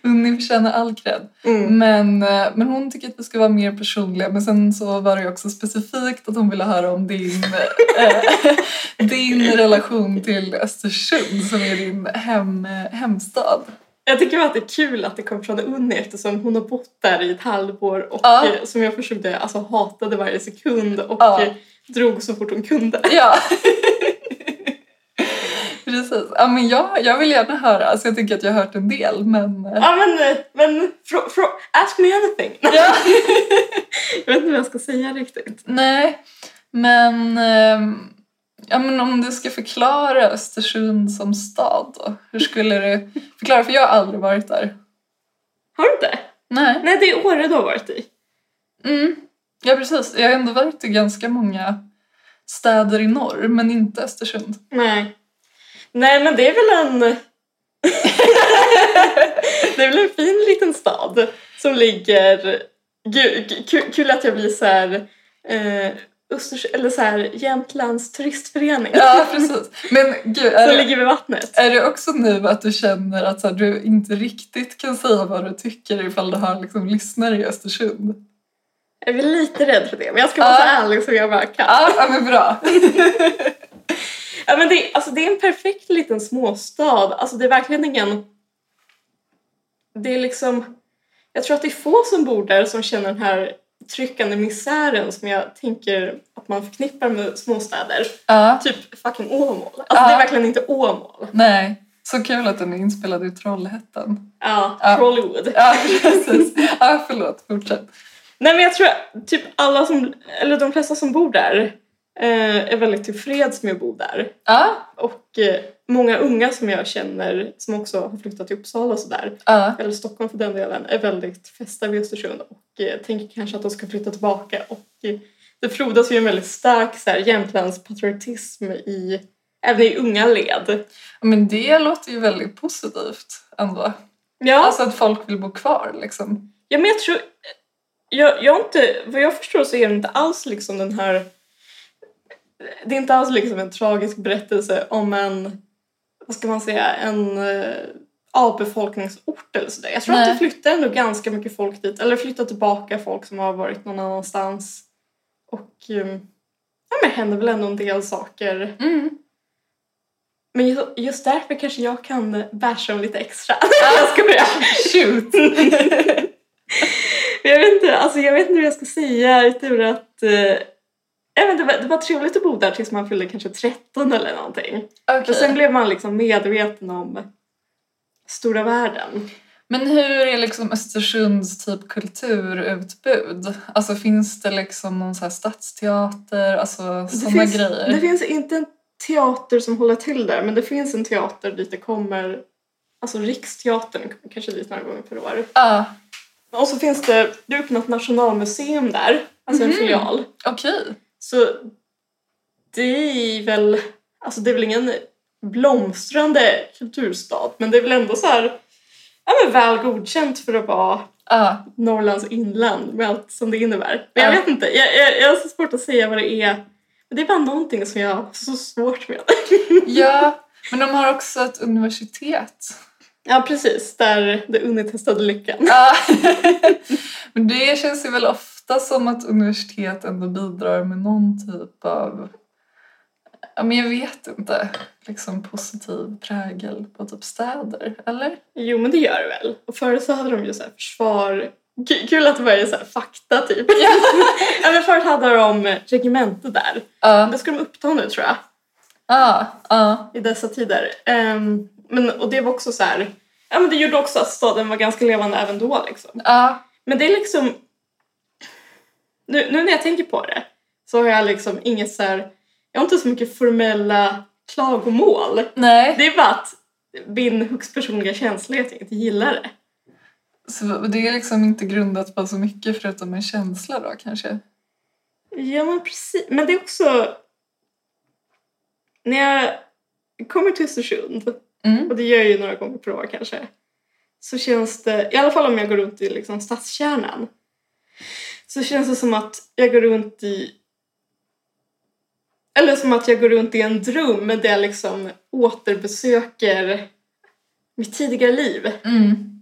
Unni förtjänar all cred.
Mm.
Men, eh, men hon tycker att vi ska vara mer personliga. Men sen så var det ju också specifikt att hon ville höra om din, eh, din relation till Östersund som är din hem, eh, hemstad.
Jag tycker bara att det är kul att det kom från Unni eftersom hon har bott där i ett halvår och
Ja.
eh, som jag försökte, alltså hatade varje sekund och
Ja.
eh, drog så fort hon kunde.
Ja. Precis. Ja, men jag, jag vill gärna höra. Alltså, jag tycker att jag har hört en del. Men, eh,
Ja men, eh, men frå, frå, ask me anything.
Ja.
jag vet inte vad jag ska säga riktigt.
Nej, men, ehm, ja, men om du ska förklara Östersund som stad då? Hur skulle du förklara? För jag har aldrig varit där.
Har du inte?
Nej.
Nej det är Åre du har varit i.
Mm. Ja, precis. Jag har ändå varit i ganska många städer i norr, men inte Östersund.
Nej. Nej men det är väl en... det är väl en fin liten stad som ligger... Gud, kul, kul att jag blir så här eh, Östers, eller så här, Jämtlands turistförening
Ja, precis. Men gud, är
som
det,
ligger vid vattnet.
är det också nu att du känner att så här, du inte riktigt kan säga vad du tycker ifall du har liksom, lyssnare i Östersund?
Jag är lite rädd för det, men jag ska vara
Ja.
så ärlig som jag bara kan.
Ja, ja men bra.
Ja, men det, alltså, det är en perfekt liten småstad. Alltså, det är verkligen ingen... Det är liksom... Jag tror att det är få som bor där som känner den här tryckande misären som jag tänker att man förknippar med småstäder.
Ja,
Typ fucking Åmål. Alltså
Ja.
det är verkligen inte Åmål.
nej. Så kul att den är inspelad i Trollhättan.
Ja,
Ja.
Trollywood.
Ja, precis. Ja, förlåt. Fortsätt.
Nej men jag tror att typ alla som, eller de flesta som bor där eh, är väldigt tillfreds med att bo där.
Ja,
Och eh, många unga som jag känner som också har flyttat till Uppsala och sådär,
ja,
eller Stockholm för den delen, är väldigt fästa vid Östersund och eh, tänker kanske att de ska flytta tillbaka. Och eh, det frodas ju en väldigt stark så här, Jämtlandspatriotism i, även i unga led.
men det låter ju väldigt positivt ändå.
Ja,
Alltså att folk vill bo kvar liksom.
Ja, men jag tror... Jag, jag har inte, vad jag förstår så är det inte alls liksom den här... Det är inte alls liksom en tragisk berättelse om en, vad ska man säga, en eh, avbefolkningsort eller sådär. Jag tror att
Nej.
det flyttar ändå ganska mycket folk dit, eller flyttar tillbaka folk som har varit någon annanstans. Och eh, ja, men det händer väl ändå en del saker.
Mm.
Men ju- just därför kanske jag kan basha dem lite extra. jag ska börja.
Shoot!
Men jag vet inte, alltså jag vet inte vad jag ska säga utöver att eh, jag vet inte, det, var, det var trevligt att bo där tills man fyllde kanske 13 eller någonting.
Okej.
För sen blev man liksom medveten om stora världen.
Men hur är liksom Östersunds typ kulturutbud? Alltså finns det liksom någon så här stadsteater, alltså sådana
finns,
grejer?
det finns inte en teater som håller till där men det finns en teater dit det kommer, alltså Riksteatern kommer kanske dit några gånger per år.
Ja,
Och så finns det, det är öppnat nationalmuseum där, alltså
Mhm.
en filial.
okej.
Så det är väl, alltså det är väl ingen blomstrande kulturstad men det är väl ändå så här, ja men väl godkänt för att vara
Ja,
Norrlands inland med allt som det innebär. Men jag
Ja.
vet inte, jag, jag, jag har så svårt att säga vad det är. Men det är bara någonting som jag har så svårt med.
ja. Men de har också ett universitet.
Ja precis, där det unitestade lyckan.
Ja. Ah. Men det känns ju väl ofta som att universitet ändå bidrar med någon typ av, ja men jag vet inte, liksom positiv prägel på typ städer, eller?
Jo men det gör det väl. Och förut så hade de ju så här försvar... K- Kul att det bara är så här fakta typ. ja, men förut hade de regemente där.
Ja,
Det ska de uppta nu tror jag.
ja, ja.
i dessa tider. Ehm, men, och det var också så här, ja men det gjorde också att staden var ganska levande även då liksom.
ja.
Men det är liksom, nu, nu när jag tänker på det så har jag liksom inget så här, jag har inte så mycket formella klagomål.
Nej.
Det är bara att min högst personliga känslighet inte gillar det.
Så det är liksom inte grundat på så mycket förutom en känsla då kanske?
Ja men precis, men det är också, när jag kommer till Östersund
Mm.
Och det gör jag ju några gånger per år kanske. Så känns det, i alla fall om jag går runt i liksom stadskärnan. Så känns det som att jag går runt i... Eller som att jag går runt i en dröm där jag liksom återbesöker mitt tidigare liv.
Mm.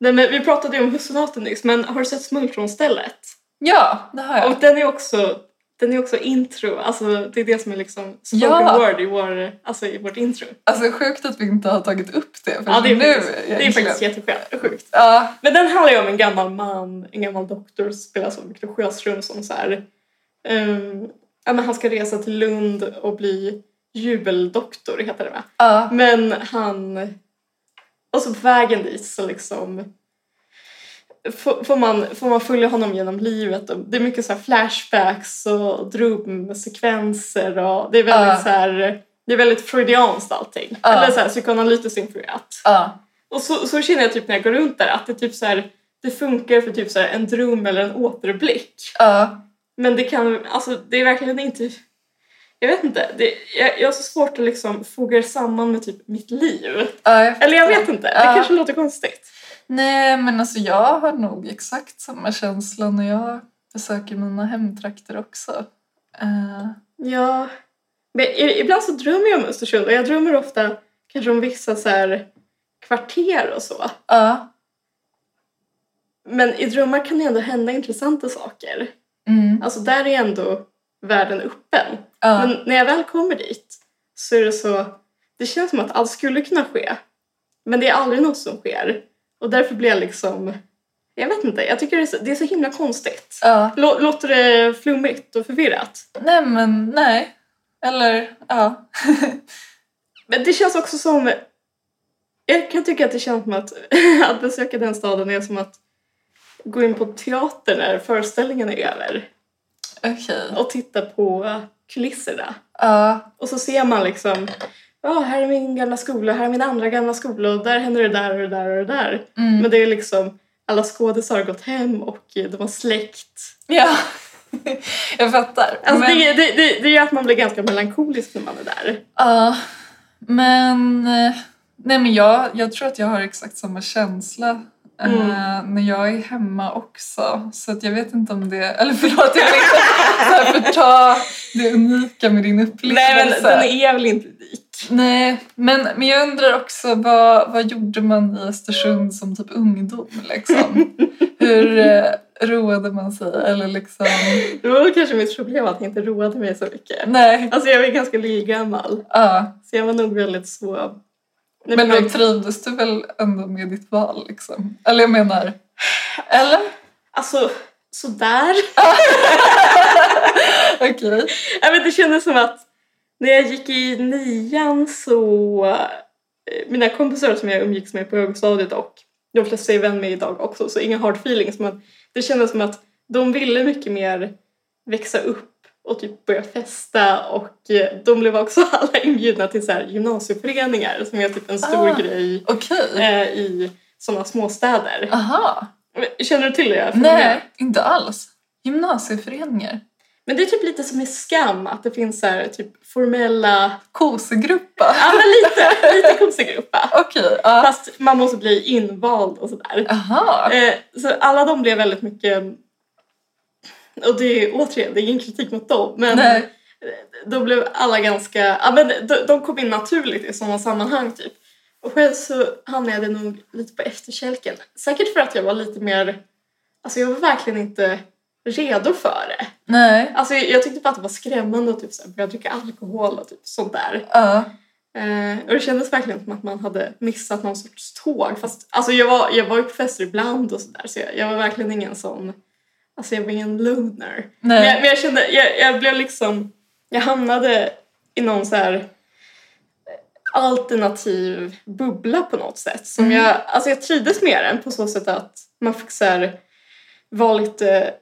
Nej, men vi pratade ju om Hussonaten nyss, men har du sett Smultronstället?
Ja, det har jag.
Och den är också, den är också intro, alltså det är det som är liksom spoken
Ja.
word i, vår, alltså i vårt intro.
Alltså sjukt att vi inte har tagit upp det för
Ja, det är
nu.
faktiskt, det är
egentligen.
faktiskt jättesjukt.
Ja,
Men den handlar ju om en gammal man, en gammal doktor som spelas av Victor Sjöström som så här, ehm, ja, men han ska resa till Lund och bli jubeldoktor heter det va?
ja.
Men han, och så på vägen dit så liksom får får man, får man följa honom genom livet och det är mycket så här flashbacks och drömsekvenser och det är väldigt
Ja.
så här, det är väldigt freudianskt allting.
Ja.
Eller så här psykoanalytiskt influerat.
ja.
Och så, så känner jag typ när jag går runt där att det typ så här, det funkar för typ så här en dröm eller en återblick.
ja.
Men det kan, alltså det är verkligen inte, jag vet inte, det, jag, jag har så svårt att liksom foga det samman med typ mitt liv.
ja jag
Eller jag vet
fattar.
inte, det
Ja.
kanske låter konstigt.
Nej, men alltså jag har nog exakt samma känsla när jag besöker mina hemtrakter också. Eh,
Ja. Men i- ibland så drömmer jag om Östersund och jag drömmer ofta kanske om vissa så här kvarter och så.
Ja.
Men i drömmar kan det ändå hända intressanta saker.
mm,
Alltså där är ändå världen öppen.
ja.
Men när jag väl kommer dit så är det så... Det känns som att allt skulle kunna ske. Men det är aldrig något som sker. Och därför blir jag liksom... Jag vet inte, jag tycker det är så, det är så himla konstigt.
ja.
Lå- Låter det flummigt och förvirrat?
Nej, men nej. Eller, ja.
Men det känns också som... Jag kan tycka att det känns som att, att besöka den staden är som att gå in på teatern när föreställningen är över
Okej.
och titta på kulisserna.
Ja.
Och så ser man liksom, ja här är min gamla skola, här är min andra gamla skola och där händer det där och det där och det där.
Mm.
Men det är liksom, alla skådisar har gått hem och de har släkt.
Ja. Jag fattar.
Alltså
men,
det, det, det, det gör att man blir ganska melankolisk när man är där.
ja. men, eh, nej, men jag, jag tror att jag har exakt samma känsla eh,
Mm.
när jag är hemma också. Så att jag vet inte om det... Eller förlåt, jag vill inte så här förta det unika med din upplevelse.
är väl inte lik.
Nej, men, men jag undrar också vad, vad gjorde man i Östersund som typ ungdom? Liksom? Hur eh, roade man sig? Eller liksom...
Det var väl kanske mitt problem att jag inte roade mig så mycket.
Nej,
Alltså jag var ganska lillgammal,
ja.
så jag var nog väldigt så... Nej,
Men
men
då trivdes du väl ändå med ditt val? Liksom? Eller jag menar... Eller?
Alltså, sådär.
Okej.
Jag vet, det kändes som att när jag gick i nian så... eh, Mina kompisar som jag umgicks med på högstadiet och de flesta är vän med idag också, så inga hard feelings. Men det kändes som att de ville mycket mer växa upp och typ börja festa och eh, de blev också alla inbjudna till så här gymnasieföreningar som är typ en stor
Ah.
grej
Okej.
eh, i sådana småstäder.
Aha.
Känner du till det?
Nej, inte alls. Gymnasieföreningar.
Men det är typ lite som i Skam, att det finns så här, typ formella
Kosegruppa.
Ja, men lite, lite kompisgruppa.
Okej. ja.
Fast man måste bli invald och sådär.
Aha.
Eh, Så alla de blev väldigt mycket... Och det är återigen, det är ingen kritik mot dem. Men
Nej.
då blev alla ganska... Ja, men de, de kom in naturligt i sådana sammanhang typ. Och själv så hamnade jag nog lite på efterkälken. Säkert för att jag var lite mer... Alltså jag var verkligen inte redo för det.
Nej.
Alltså jag tyckte bara att det var skrämmande att typ så här börja dricka alkohol och typ sånt där.
Ja.
Eh, och det kändes verkligen som att man hade missat någon sorts tåg. Fast, alltså jag, var, jag var ju på fester ibland och sådär så jag, jag var verkligen ingen sån... Alltså jag var ingen loner. Men jag,
Nej.
men jag kände, jag, jag blev liksom... Jag hamnade i någon så här alternativ bubbla på något sätt. Som
Mm.
jag, alltså jag trivdes med den på så sätt att man fick så här, vara lite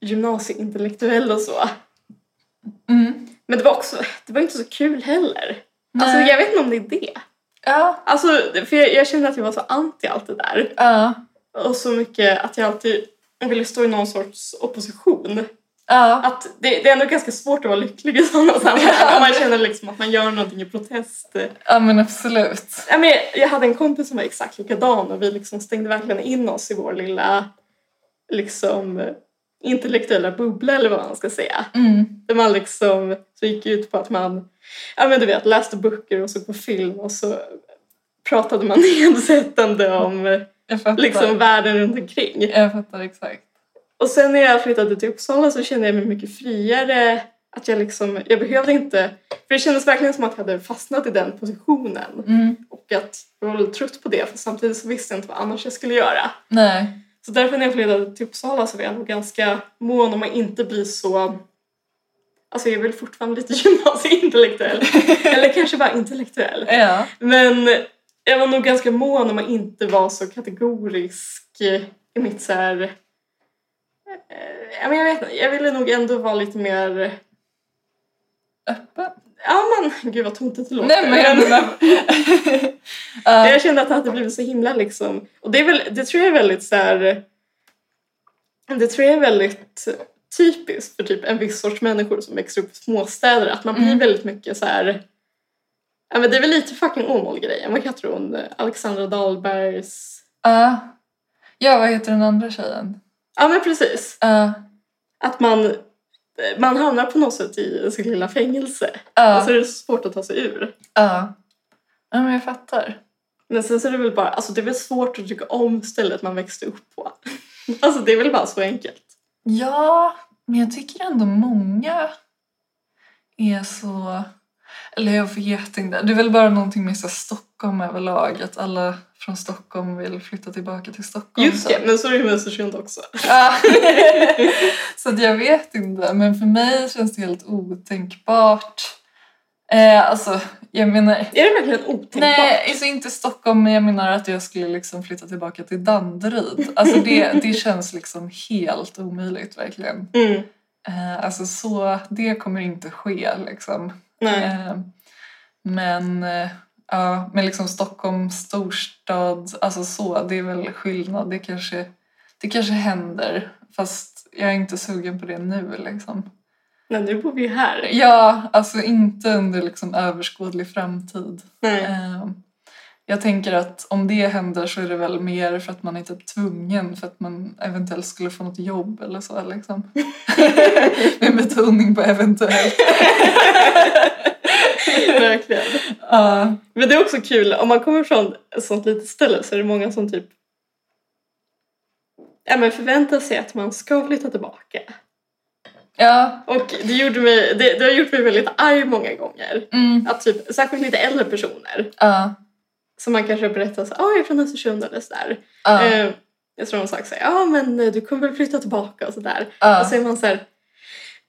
gymnasieintellektuell och så.
Mm.
Men det var också, det var inte så kul heller. Alltså
Nej.
jag vet inte om det är det.
Ja.
Alltså, för jag, jag kände att jag var så anti allt det där.
Ja.
Och så mycket att jag alltid ville stå i någon sorts opposition.
Ja.
Att det, det är ändå ganska svårt att vara lycklig i sådana sammanhang. Om man känner liksom att man gör någonting i protest.
Ja men absolut.
Jag, men, jag hade en kompis som var exakt likadan och vi liksom stängde verkligen in oss i vår lilla liksom intellektuella bubbla eller vad man ska säga.
Mm.
Där man liksom, så gick det ut på att man, ja men du vet, läste böcker och såg på film och så pratade man nedsättande om
Jag fattar.
liksom världen runt omkring.
Jag fattar exakt.
Och sen när jag flyttade till Uppsala så kände jag mig mycket friare. Att jag liksom, jag behövde inte, för det kändes verkligen som att jag hade fastnat i den positionen.
Mm.
Och att jag var lite trött på det för samtidigt så visste jag inte vad annars jag skulle göra.
Nej.
Så därför när jag flyttade till Uppsala så var jag nog ganska mån om att inte bli så... Alltså jag är väl fortfarande lite gymnasieintellektuell. Eller kanske bara intellektuell.
Ja.
Men jag var nog ganska mån om att inte vara så kategorisk i mitt så här... eh, ja, men Jag, vet, inte, jag ville nog ändå vara lite mer...
Öppen.
Ja men gud vad tokigt det låter.
Nej men jag menar... Ja.
Jag kände att det hade blivit så himla liksom... Och det, är väl, det tror jag är väldigt så här... Det tror jag är väldigt typiskt för typ en viss sorts människor som växer upp i småstäder. Att man blir
Mm.
väldigt mycket så här... Ja, men det är väl lite fucking Åmål-grejen. Vad heter hon? Alexandra Dahlbergs...
Ja. Ja, vad heter den andra tjejen?
Ja men precis.
Ja.
Att man man hamnar på något sätt i sin lilla fängelse. Och så
Ja,
är det så svårt att ta sig ur.
ja. Alltså, Ja, men jag fattar.
Men sen så är det väl bara, alltså det är väl svårt att tycka om stället man växte upp på. Alltså det är väl bara så enkelt.
Ja, men jag tycker ändå många är så... Eller jag vet inte. Det är väl bara någonting med så här Stockholm överlag. Att alla från Stockholm vill flytta tillbaka till Stockholm.
Just
så.
det, men så är det ju med Östersund också.
Ja. så att jag vet inte. Men för mig känns det helt otänkbart. Eh, alltså, jag menar...
Är det verkligen otänkbart?
Nej, alltså inte Stockholm, men jag menar att jag skulle liksom flytta tillbaka till Danderyd. Alltså det, det känns liksom helt omöjligt verkligen.
Mm,
Eh, alltså så, det kommer inte ske liksom.
nej.
Eh, men eh, ja, men liksom Stockholm storstad, alltså så, det är väl skillnad. Det kanske, det kanske händer, fast jag är inte sugen på det nu liksom.
nej, nu bor vi ju här.
Ja, alltså inte under liksom överskådlig framtid.
Nej.
Eh, Jag tänker att om det händer så är det väl mer för att man är typ tvungen för att man eventuellt skulle få något jobb eller så liksom. Med betoning på eventuellt.
verkligen.
Ja,
Men det är också kul, om man kommer från ett sånt litet ställe så är det många som typ ja, men förväntar sig att man ska flytta tillbaka.
ja,
Och det, gjorde mig, det, det har gjort mig väldigt arg många gånger.
mm,
Att typ, särskilt lite äldre personer
ja,
som man kanske berättar så ah, jag är från Östersund eller sådär.
ja,
Eh, jag tror de sagt såhär, ja men eh, du kommer väl flytta tillbaka och sådär.
ja.
Och så är man såhär,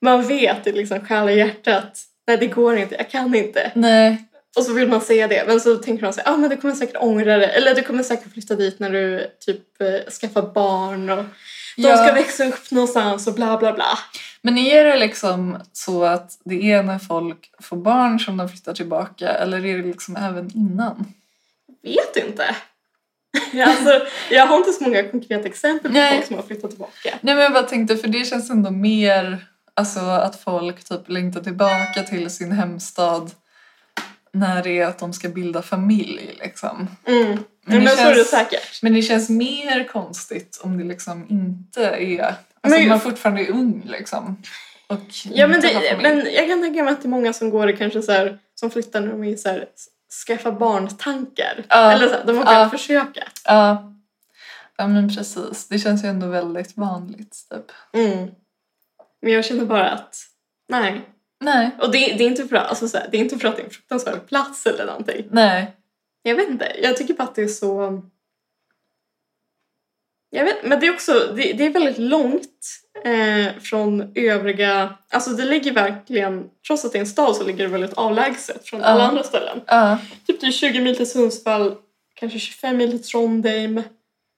man vet i liksom själ och hjärtat, nej det går inte, jag kan inte.
Nej,
Och så vill man säga det, men så tänker man sig ah, men du kommer säkert ångra dig. Eller du kommer säkert flytta dit när du typ eh, skaffar barn och de
ja.
ska växa upp någonstans och bla bla bla.
Men är det liksom så att det är när folk får barn som de flyttar tillbaka eller är det liksom även innan?
Vet inte. alltså, jag har inte så många konkreta exempel på
Nej.
folk som har flyttat tillbaka.
Nej men jag bara tänkte för det känns ändå mer alltså att folk typ längtar tillbaka till sin hemstad när det är att de ska bilda familj liksom.
Mm.
Men
Men,
det
så är det
känns-
säkert.
Men det känns mer konstigt om det liksom inte är, alltså
Men-
om man fortfarande är ung liksom. Och
Ja, men,
inte har
det,
familj.
men jag kan tänka mig att det är många som går och kanske så här, som flyttar när de är så här, s- skaffa barn-tankar.
Ja.
Eller så här, de har börjat
Ja.
försöka.
Ja. ja men precis, det känns ju ändå väldigt vanligt typ.
Mm. Men jag känner bara att, nej,
Nej.
Och det, det, är inte för, att- alltså så här, det är inte för att det är en fruktansvärd plats eller någonting.
Nej.
Jag vet inte. Jag tycker bara att det är så... Jag vet, men det är också det, det är väldigt långt eh, från övriga... Alltså det ligger verkligen... Trots att det är en stad så ligger det väldigt avlägset från
Ja.
alla andra ställen.
Ja.
Typ det är 20 mil till Sundsvall, kanske 25 mil till Trondheim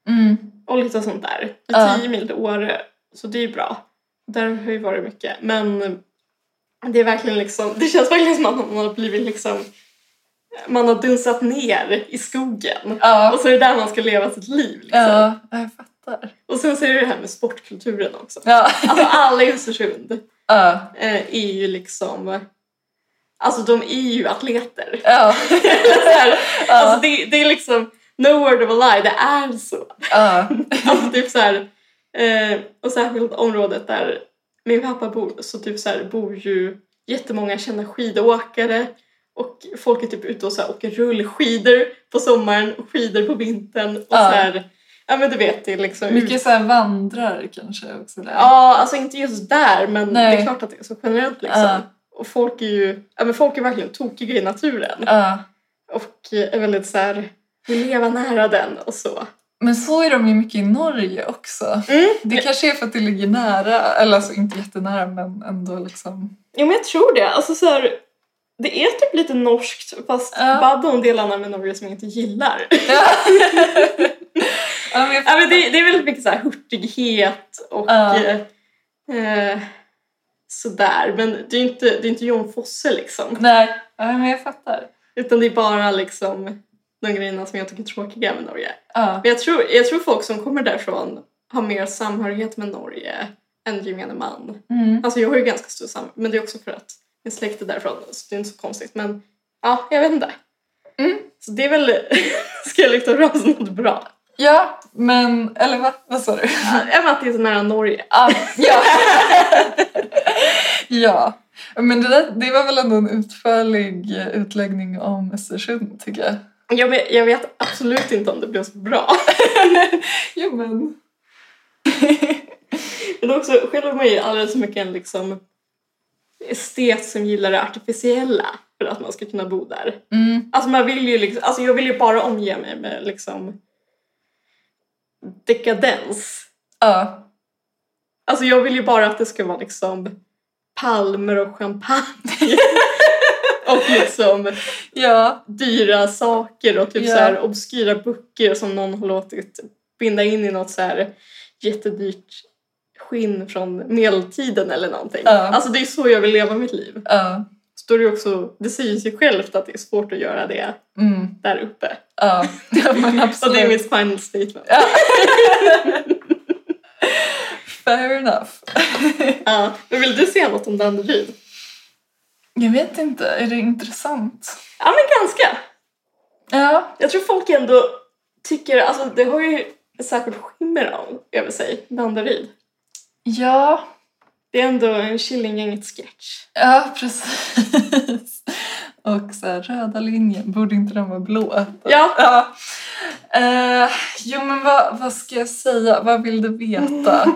Mm.
och lite sånt där.
Ja.
10 mil till Åre, så det är ju bra. Där har ju varit mycket. Men det är verkligen liksom, det känns verkligen som att man har blivit liksom, man har dunsat ner i skogen. Och
Ja.
så är det där man ska leva sitt liv. Liksom.
Ja, jag fattar.
Och sen så är det det här med sportkulturen också.
Ja.
Alltså alla i Östersund
Ja.
eh, är ju liksom, alltså de är ju atleter.
Ja.
Så här, alltså
Ja.
det, det är liksom, no word of a lie, det är så.
Ja.
Alltså typ så här, eh, och särskilt området där min pappa bor, så typ så här, bor ju jättemånga kända skidåkare och folk är typ ute och så här, åker rullskidor på sommaren och skidor på vintern och
Ja.
så här, ja men du vet det är liksom
Mycket så här vandrar kanske också där.
Ja, alltså inte just där men
Nej.
det är klart att det är så generellt liksom.
Ja.
Och folk är ju, ja men folk är verkligen tokiga i naturen
Ja.
och är väldigt så här vill leva nära den och så.
Men så är de ju mycket i Norge också.
Mm.
Det kanske är för att det ligger nära, eller alltså inte jättenära men ändå liksom.
Ja men jag tror det. Alltså så här, det är typ lite norskt fast
Ja.
bara de delarna med Norge som jag inte gillar.
Ja, ja men jag
ja, men det, det är väldigt mycket så här hurtighet och
Ja.
eh, eh, sådär. Men det är ju inte, det är inte John Fosse liksom.
Nej, ja, men jag fattar.
Utan det är bara liksom de grejerna som jag tycker är tråkiga med Norge.
Ja.
Men jag tror, jag tror folk som kommer därifrån har mer samhörighet med Norge än gemene man.
Mm.
Alltså jag har ju ganska stor sam... Men det är också för att min släkt är därifrån så det är inte så konstigt. Men ja, jag vet inte.
Mm.
Så det är väl... Ska jag lyfta fram som något bra?
ja, men eller vad, vad sa du?
Ja, men att det är så nära Norge.
Ja. ja. Ja, men det, där, det var väl ändå en utförlig eh, utläggning om Östersund tycker jag.
Jag vet, jag vet absolut inte om det blev så bra.
Ja, men.
Men också själv man ju alldeles för mycket en liksom estet som gillar det artificiella för att man ska kunna bo där.
Mm,
Alltså man vill ju liksom, alltså jag vill ju bara omge mig med liksom dekadens.
ja.
Alltså jag vill ju bara att det ska vara liksom palmer och champagne. och liksom
ja,
dyra saker och typ
Ja.
så här obskyra böcker som någon har låtit binda in i något så här jättedyrt skinn från medeltiden eller någonting.
Ja.
Alltså det är så jag vill leva mitt liv.
ja.
Så då är det, ju också, det säger sig självt att det är svårt att göra det
Mm,
där uppe.
ja. ja, men
Och
absolut.
det är mitt final statement.
Ja. Fair enough.
Ja. Men vill du säga något om Danderyd?
Jag vet inte, är det intressant?
Ja men ganska.
Ja,
Jag tror folk ändå tycker, alltså det har ju ett särskilt skimmer av, över sig, Danderyd.
ja,
Det är ändå en Killinggänget-sketch.
ja precis. Och så här, röda linjen, borde inte den vara blå?
Ja,
Ja. Eh, jo, men vad, vad ska jag säga? Vad vill du veta?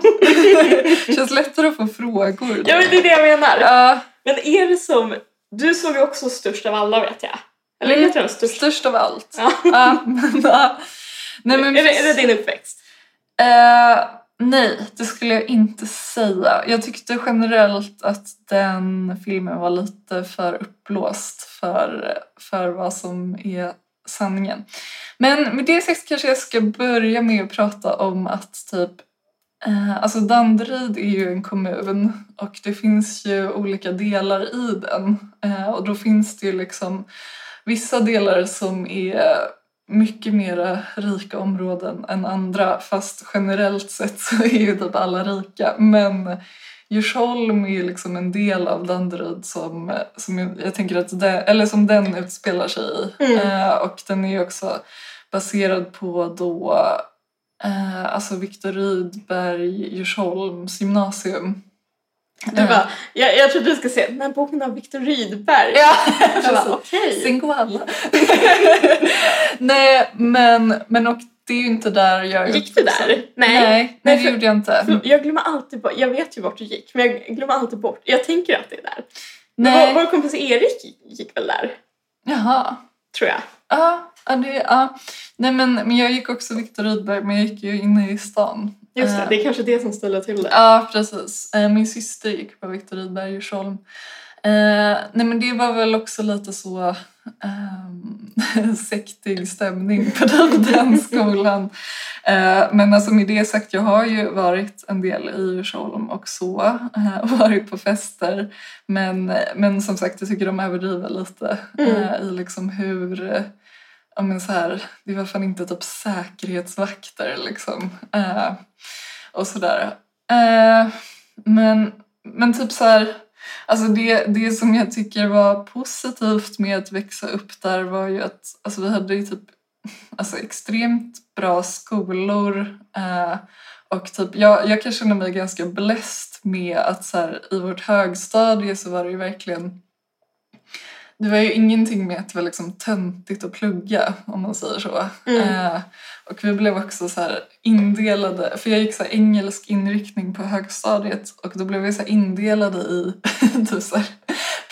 känns lättare att få frågor.
Ja men det är det jag menar.
Ja,
Men är det som, du såg ju också Störst av alla vet jag. Eller
Mm.
heter den Störst?
störst av allt.
Ja.
Ja, men, ja. Nej, men
är, det, är det din uppväxt?
Eh, nej, det skulle jag inte säga. Jag tyckte generellt att den filmen var lite för uppblåst för, för vad som är sanningen. Men med det sagt kanske jag ska börja med att prata om att typ eh, Alltså Danderyd är ju en kommun och det finns ju olika delar i den. Eh, Och då finns det ju liksom vissa delar som är mycket mera rika områden än andra fast generellt sett så är ju typ alla rika. Men Djursholm är ju liksom en del av Danderyd som, som jag- jag tänker att det, eller som den utspelar sig i.
Mm.
Eh, och den är ju också baserad på då eh, alltså Viktor Rydberg Djursholms gymnasium. Mm.
Du bara, jag, jag trodde du skulle säga den här boken av Viktor Rydberg.
Eh, Ja,
Jag
precis.
bara, Alltså, okej.
Singo alla. Nej, men, men och det är ju inte där jag är
Gick du
uppvuxen.
där? Nej.
Nej, nej,
Nej,
det
för-
gjorde jag inte.
För Jag glömmer alltid bort, jag vet ju vart du gick men jag glömmer alltid bort, jag tänker att det är där. Vår,
Nej.
vår kompis Erik gick väl där,
Jaha.
tror jag.
Ja, ja, det, ja. Nej, men, men jag gick också Viktor Rydberg, men jag gick ju inne i stan.
Just det,
Eh,
det är kanske det som ställer till det.
Ja, precis. Eh, Min syster gick på Viktor Rydberg i Djursholm. Eh, nej men det var väl också lite så ehm, sektig stämning på den- den skolan. Eh, men alltså med det sagt, jag har ju varit en del i Djursholm och så, eh, och varit på fester. Men, men som sagt, jag tycker de överdriver lite eh, i liksom hur eh, Ja, men så här, det var fan inte typ säkerhetsvakter liksom. Eh, och sådär. Eh, men, men typ så här, alltså det, det som jag tycker var positivt med att växa upp där var ju att alltså vi hade ju typ alltså extremt bra skolor. Eh, och typ, jag, jag kan känna mig ganska bläst med att så här, i vårt högstadie så var det ju verkligen det var ju ingenting med att det var liksom töntigt att plugga om man säger så.
Mm.
Eh, och vi blev också så här indelade, för jag gick så här engelsk inriktning på högstadiet och då blev vi så här indelade i typ så här,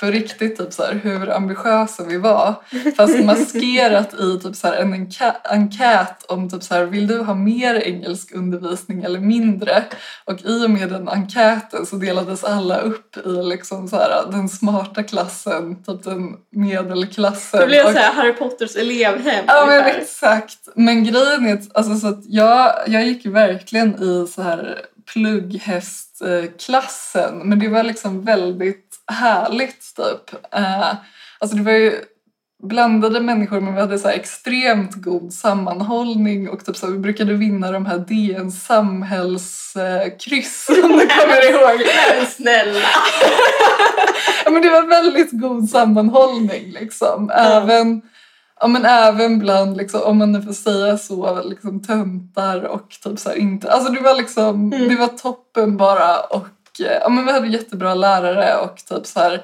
på riktigt typ så här, hur ambitiösa vi var. Fast maskerat i typ så här en enkä- enkät om typ så här, vill du ha mer engelsk undervisning eller mindre? Och i och med den enkäten så delades alla upp i liksom så här, den smarta klassen, typ den medelklassen.
Det blev
och-
såhär Harry Potters elevhem.
Ja men
ungefär.
exakt. Men grejen är att, alltså, så att jag, jag gick verkligen i så här plugghästklassen men det var liksom väldigt härligt typ. Eh, Alltså det var ju blandade människor men vi hade så här extremt god sammanhållning och typ så här, vi brukade vinna de här DN samhällskryss om du kommer ihåg.
Men snälla!
Ja, men det var väldigt god sammanhållning liksom. Även, ja, men även bland, liksom, om man nu får säga så, liksom, töntar och typ så här inte. Alltså det var liksom,
Mm.
det var toppen bara och eh, ja, men vi hade jättebra lärare och typ så här,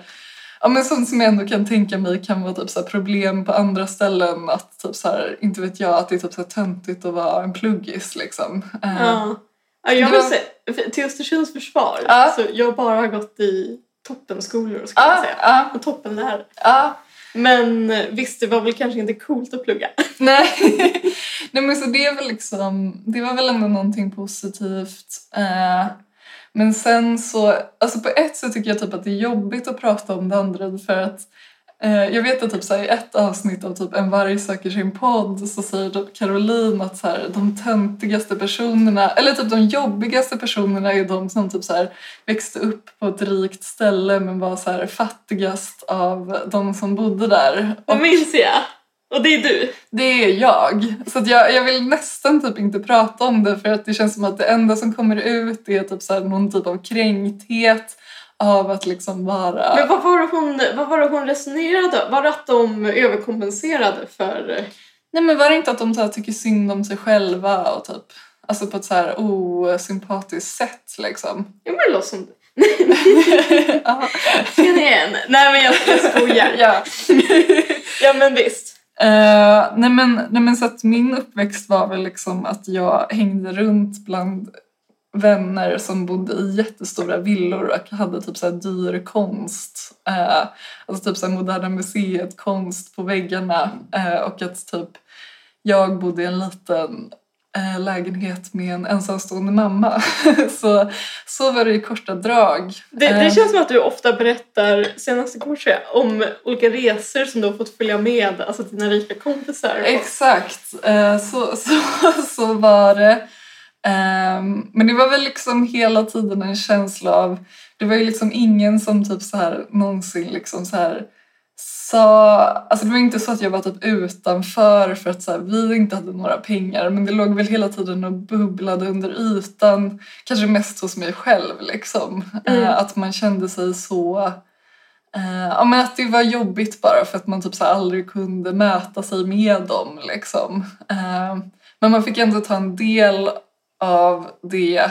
ja, men sånt som jag ändå kan tänka mig kan vara typ så här problem på andra ställen. Att typ så här, inte vet jag, att det är typ så här töntigt att vara en pluggis liksom. Eh,
Ja. Ja, jag
Det
vill
var-
säga, för- till Östersunds försvar,
Ja.
så jag bara har gått i toppenskolor skulle jag
Ja,
säga.
ja,
Och toppenlärare.
ja.
Men eh, visst, det var väl kanske inte coolt att plugga.
Nej. Nej men så det är väl liksom, det var väl ändå någonting positivt. Eh, men sen så, alltså på ett sätt tycker jag typ att det är jobbigt att prata om det andra för att eh, jag vet att typ så här, i ett avsnitt av typ En varg söker sin podd så säger typ Caroline att så här, de töntigaste personerna, eller typ de jobbigaste personerna är de som typ så här, växte upp på ett rikt ställe men var så här, fattigast av de som bodde där. Och-
Det minns jag. Och det är du.
det är jag. Så att jag, jag vill nästan typ inte prata om det för att det känns som att det enda som kommer ut är typ så här någon typ av kränkthet av att liksom vara...
Men vad var det hon, vad var det hon resonerade om? Var det att de överkompenserade för... eh,
Nej men var det inte att de så här tycker synd om sig själva och typ alltså på ett så här osympatiskt sätt liksom?
Ja, men det låter som du.
ja.
Känner igen. Nej, men jag, jag skojar.
ja.
Ja, men visst.
Eh, nej, men, nej men så att min uppväxt var väl liksom att jag hängde runt bland vänner som bodde i jättestora villor och hade typ så här dyr konst. Eh, alltså typ så här Moderna Museet-konst på väggarna eh, och att typ jag bodde i en liten eh, lägenhet med en ensamstående mamma. så, så var det i korta drag.
Det,
Eh,
det känns som att du ofta berättar, senast igår tror jag, om olika resor som du har fått följa med, alltså dina rika kompisar.
Exakt, Eh, så, så, så var det. Ehm, Men det var väl liksom hela tiden en känsla av, det var ju liksom ingen som typ så här någonsin liksom så här sa, alltså det var inte så att jag var typ utanför för att så här, vi inte hade några pengar men det låg väl hela tiden och bubblade under ytan, kanske mest hos mig själv liksom.
Mm.
Eh, Att man kände sig så Eh, ja, men att det var jobbigt bara för att man typ så här aldrig kunde mäta sig med dem. Liksom. Eh, men man fick ändå ta en del av det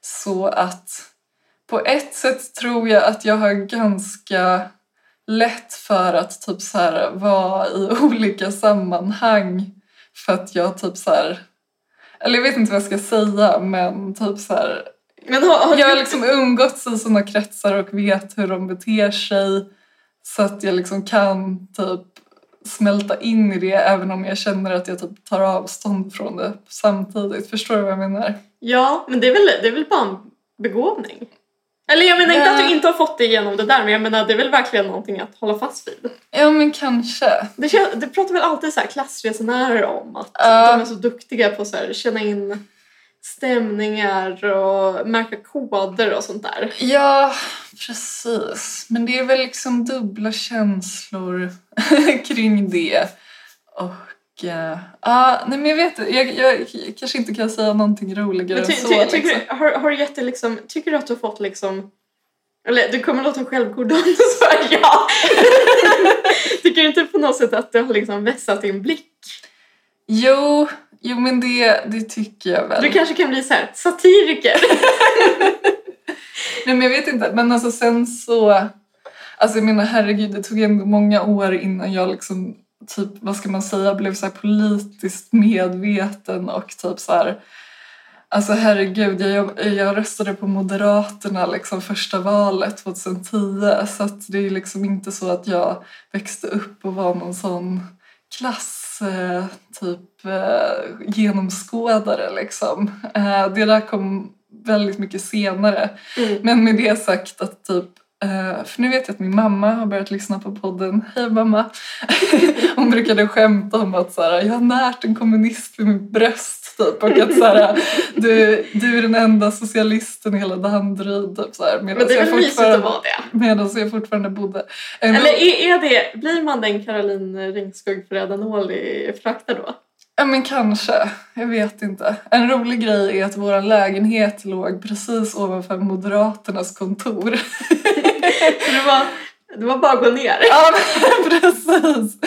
så att på ett sätt tror jag att jag har ganska lätt för att typ så här vara i olika sammanhang för att jag typ så här eller jag vet inte vad jag ska säga men typ så här
Men har, har
jag har
du,
liksom umgåtts i såna kretsar och vet hur de beter sig så att jag liksom kan typ smälta in i det även om jag känner att jag typ tar avstånd från det samtidigt. Förstår du vad jag menar?
Ja, men det är, väl, det är väl bara en begåvning? Eller jag menar inte
Ja.
att du inte har fått det igenom det där, men jag menar det är väl verkligen någonting att hålla fast vid.
Ja men kanske.
Det, kän- det pratar väl alltid så här klassresenärer om, att
Ja.
de är så duktiga på att känna in stämningar och märka koder och sånt där.
Ja, precis. Men det är väl liksom dubbla känslor kring det. Och eh, ja, nej men jag vet inte. jag, jag, jag kanske inte kan säga någonting roligare
Men
än
ty,
så.
ty,
liksom.
tycker, du- har, har du gett dig liksom, tycker du att du har fått liksom eller du kommer låta självgod om du svarar ja. Tycker du inte på något sätt att du har liksom vässat din blick?
Jo, jo men det, det tycker jag väl.
Du kanske kan bli så här satiriker.
Nej men jag vet inte. Men alltså sen så... Alltså jag menar herregud, det tog ändå många år innan jag liksom typ, vad ska man säga, blev så här politiskt medveten och typ så här... Alltså herregud, jag, jobb- jag röstade på Moderaterna liksom första valet 2010 så att det är liksom inte så att jag växte upp och var någon sån klass eh, typ eh, genomskådare liksom. Eh, det där kom väldigt mycket senare.
Mm.
Men med det sagt att typ eh, för nu vet jag att min mamma har börjat lyssna på podden. Hej mamma! Hon brukade skämta om att så här, jag har närt en kommunist vid mitt bröst typ, och att så här, du, du är den enda socialisten i hela Danderyd. Typ, så här,
Men
medan,
det är
jag
väl mysigt att
fortfarande,
vara det?
medan jag fortfarande bodde...
Eller är, är det, blir man den Caroline Ringskog Ferradanoli fraktar då?
Ja men kanske, jag vet inte. En rolig grej är att vår lägenhet låg precis ovanför Moderaternas kontor.
Så det, var, det var bara att gå ner.
Ja, men precis.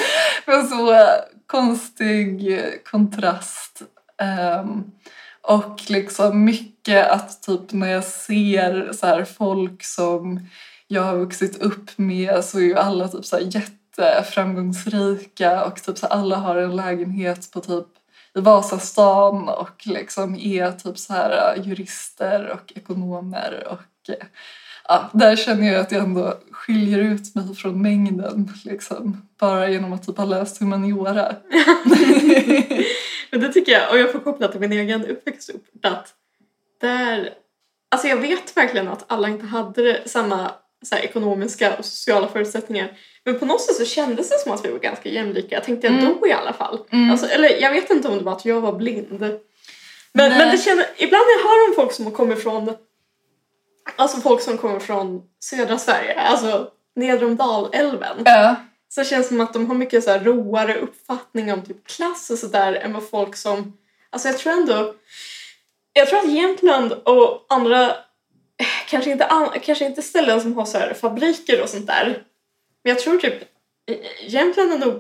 Men så eh, konstig eh, kontrast. Ehm, Och liksom mycket att typ när jag ser så här folk som jag har vuxit upp med så är ju alla typ så här jätteframgångsrika och typ så här alla har en lägenhet på typ i Vasastan och liksom är typ så här eh, jurister och ekonomer och eh, ja, där känner jag att jag ändå skiljer ut mig från mängden liksom bara genom att typ ha läst humaniora.
Men det tycker jag, och jag får koppla till min egen uppväxtort att där, alltså jag vet verkligen att alla inte hade det- samma så här, ekonomiska och sociala förutsättningar. Men på något sätt så kändes det som att vi var ganska jämlika, tänkte jag
Mm.
då i alla fall.
Mm.
Alltså, eller jag vet inte om det var att jag var blind. Men,
Nej.
men det känner, ibland när jag hör om folk som kommer från Alltså folk som kommer från södra Sverige, alltså nedre om Dalälven.
Ja,
Så det känns som att de har mycket så här roare uppfattning om typ klass och sådär än vad folk som... Alltså jag tror ändå... Jag tror att Jämtland och andra, eh, kanske inte, an, kanske inte ställen som har så här fabriker och sånt där. Men jag tror typ eh, Jämtland är nog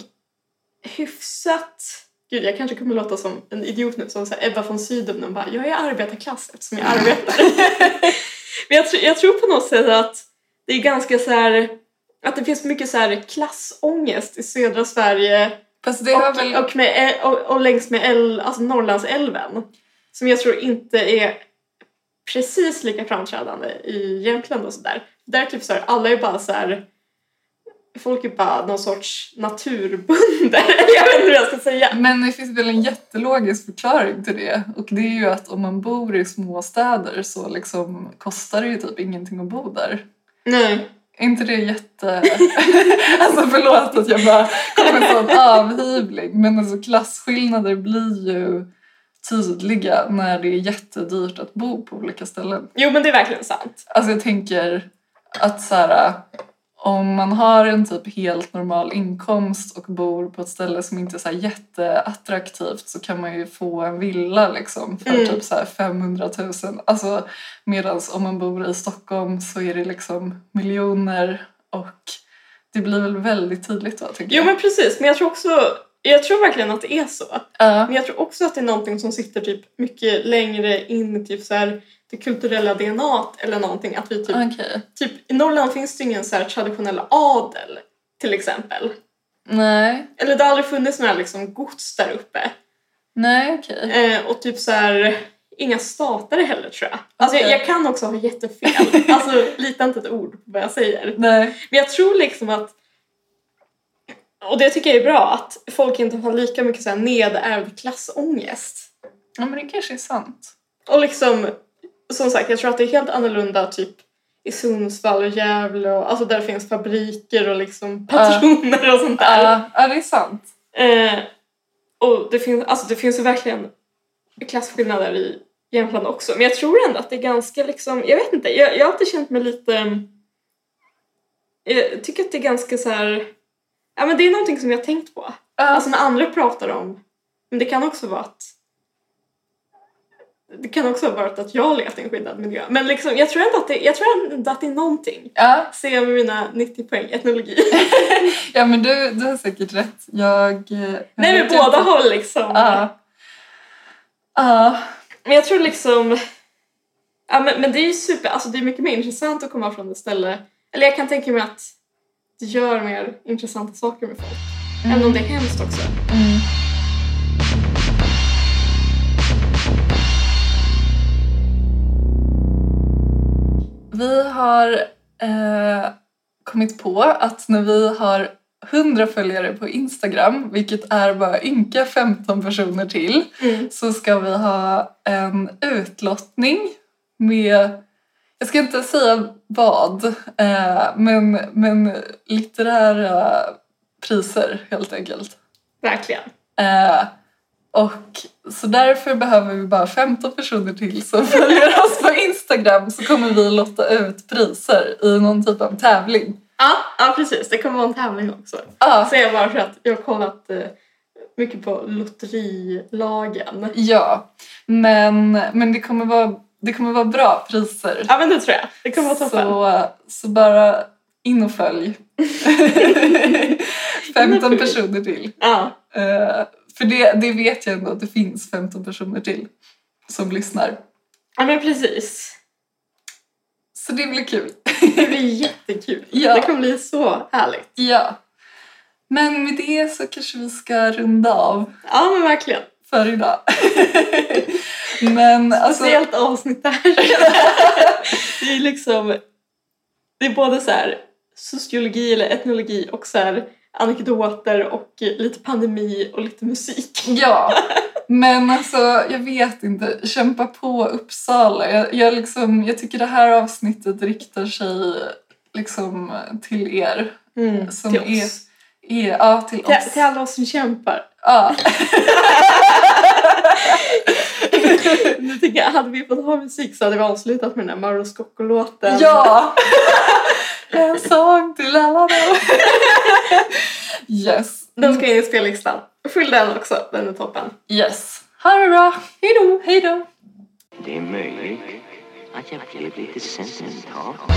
hyfsat... Gud, jag kanske kommer låta som en idiot nu, som så här Ebba von Sydow. och bara, jag är arbetarklass eftersom jag arbetar. Men jag, tror- jag tror på något sätt att det är ganska så här att det finns mycket så här klassångest i södra Sverige
fast det har väl...
och, och, med, och, och längs med äl, alltså Norrlandsälven som jag tror inte är precis lika framträdande i Jämtland och sådär. Där är typ så här, alla är bara så här folk är bara någon sorts naturbunder, eller jag vet inte hur jag ska säga.
Men det finns väl en jättelogisk förklaring till det. Och det är ju att om man bor i små städer så liksom kostar det ju typ ingenting att bo där.
Nej.
Är inte det jätte... alltså förlåt att jag bara kommer på en avhyvling. Men alltså klasskillnader blir ju tydliga när det är jättedyrt att bo på olika ställen.
Jo men det är verkligen sant.
Alltså jag tänker att så här, om man har en typ helt normal inkomst och bor på ett ställe som inte är så här jätteattraktivt så kan man ju få en villa liksom för
Mm.
typ så här 500 000. Alltså, Medan om man bor i Stockholm så är det liksom miljoner och det blir väl väldigt tydligt då tänker
Jo
jag.
men precis, men jag tror också, jag tror verkligen att det är så.
Ja.
Men jag tror också att det är någonting som sitter typ mycket längre in i typ så här, det kulturella DNAt eller någonting. Att vi typ,
Okej.
typ, I Norrland finns det ingen så här traditionell adel till exempel.
Nej.
Eller det har aldrig funnits några liksom gods där uppe.
Nej okej.
Eh, och typ så här, inga statare heller tror jag. Alltså jag,
Okej.
jag kan också ha jättefel. alltså lita inte ett ord på vad jag säger.
Nej.
Men jag tror liksom att och det tycker jag är bra, att folk inte har lika mycket så här nedärvd klassångest.
Ja men det kanske är sant.
Och liksom, som sagt, jag tror att det är helt annorlunda typ i Sundsvall och Gävle och alltså där finns fabriker och liksom patroner och sånt där.
Ja, ja det är sant.
Eh, och det finns, alltså det finns ju verkligen klasskillnader i Jämtland också. Men jag tror ändå att det är ganska liksom, jag vet inte, jag, jag har alltid känt mig lite, mm, jag tycker att det är ganska så här, ja men det är någonting som jag har tänkt på.
Ja.
Alltså när andra pratar om, men det kan också vara att det kan också ha varit att jag har levt i en skyddad miljö. Men liksom, jag, tror ändå att det, jag tror ändå att det är någonting.
ja.
Ser jag med mina 90 poäng etnologi.
Ja men du, du har säkert rätt. Jag... Nej
Nej men båda håll liksom.
Ja. Ja.
Men jag tror liksom... Ja, men, men det är ju super, alltså det är mycket mer intressant att komma från det ställe. Eller jag kan tänka mig att det gör mer intressanta saker med folk. Även om det är hemskt också.
Mm. Vi har eh, kommit på att när vi har 100 följare på Instagram, vilket är bara ynka 15 personer till,
Mm.
så ska vi ha en utlottning med, jag ska inte säga vad, eh, men, men litterära priser helt enkelt.
Verkligen.
Eh, och så därför behöver vi bara 15 personer till som följer oss på Instagram så kommer vi lotta ut priser i någon typ av tävling.
Ja, ja precis. Det kommer vara en tävling också.
Ah,
Säger Alltså, jag bara för att jag har kollat eh, mycket på lotterilagen.
ja, men, men det, kommer vara, det kommer vara bra priser.
Ja men det tror jag. Det kommer vara toppen.
så, så bara in och följ. 15 personer till.
Ja.
Eh, för det, det vet jag ändå att det finns 15 personer till. som lyssnar.
Ja men precis.
Så det blir kul.
Det blir jättekul.
Ja.
Det kommer bli så härligt.
Ja. Men med det så kanske vi ska runda av
Ja men verkligen.
för idag. Men alltså...
Speciellt avsnitt det här. det är liksom... Det är både så här sociologi eller etnologi och så här anekdoter och lite pandemi och lite musik.
Ja, men alltså jag vet inte. Kämpa på Uppsala. Jag, jag, liksom, jag tycker det här avsnittet riktar sig liksom till er. Mm, Som
till
är-
oss.
er ja, till oss.
Till, till alla oss som kämpar.
Ja.
nu tänker jag, hade vi fått ha musik så hade vi avslutat med den där Mauro Scocco-låten.
ja! En sång till alla dem. Yes,
Den ska in i spellistan. Fyll den också, den är toppen.
yes. Ha det bra. Hejdå. Hejdå.
Det är möjligt att jag blev lite sentimental.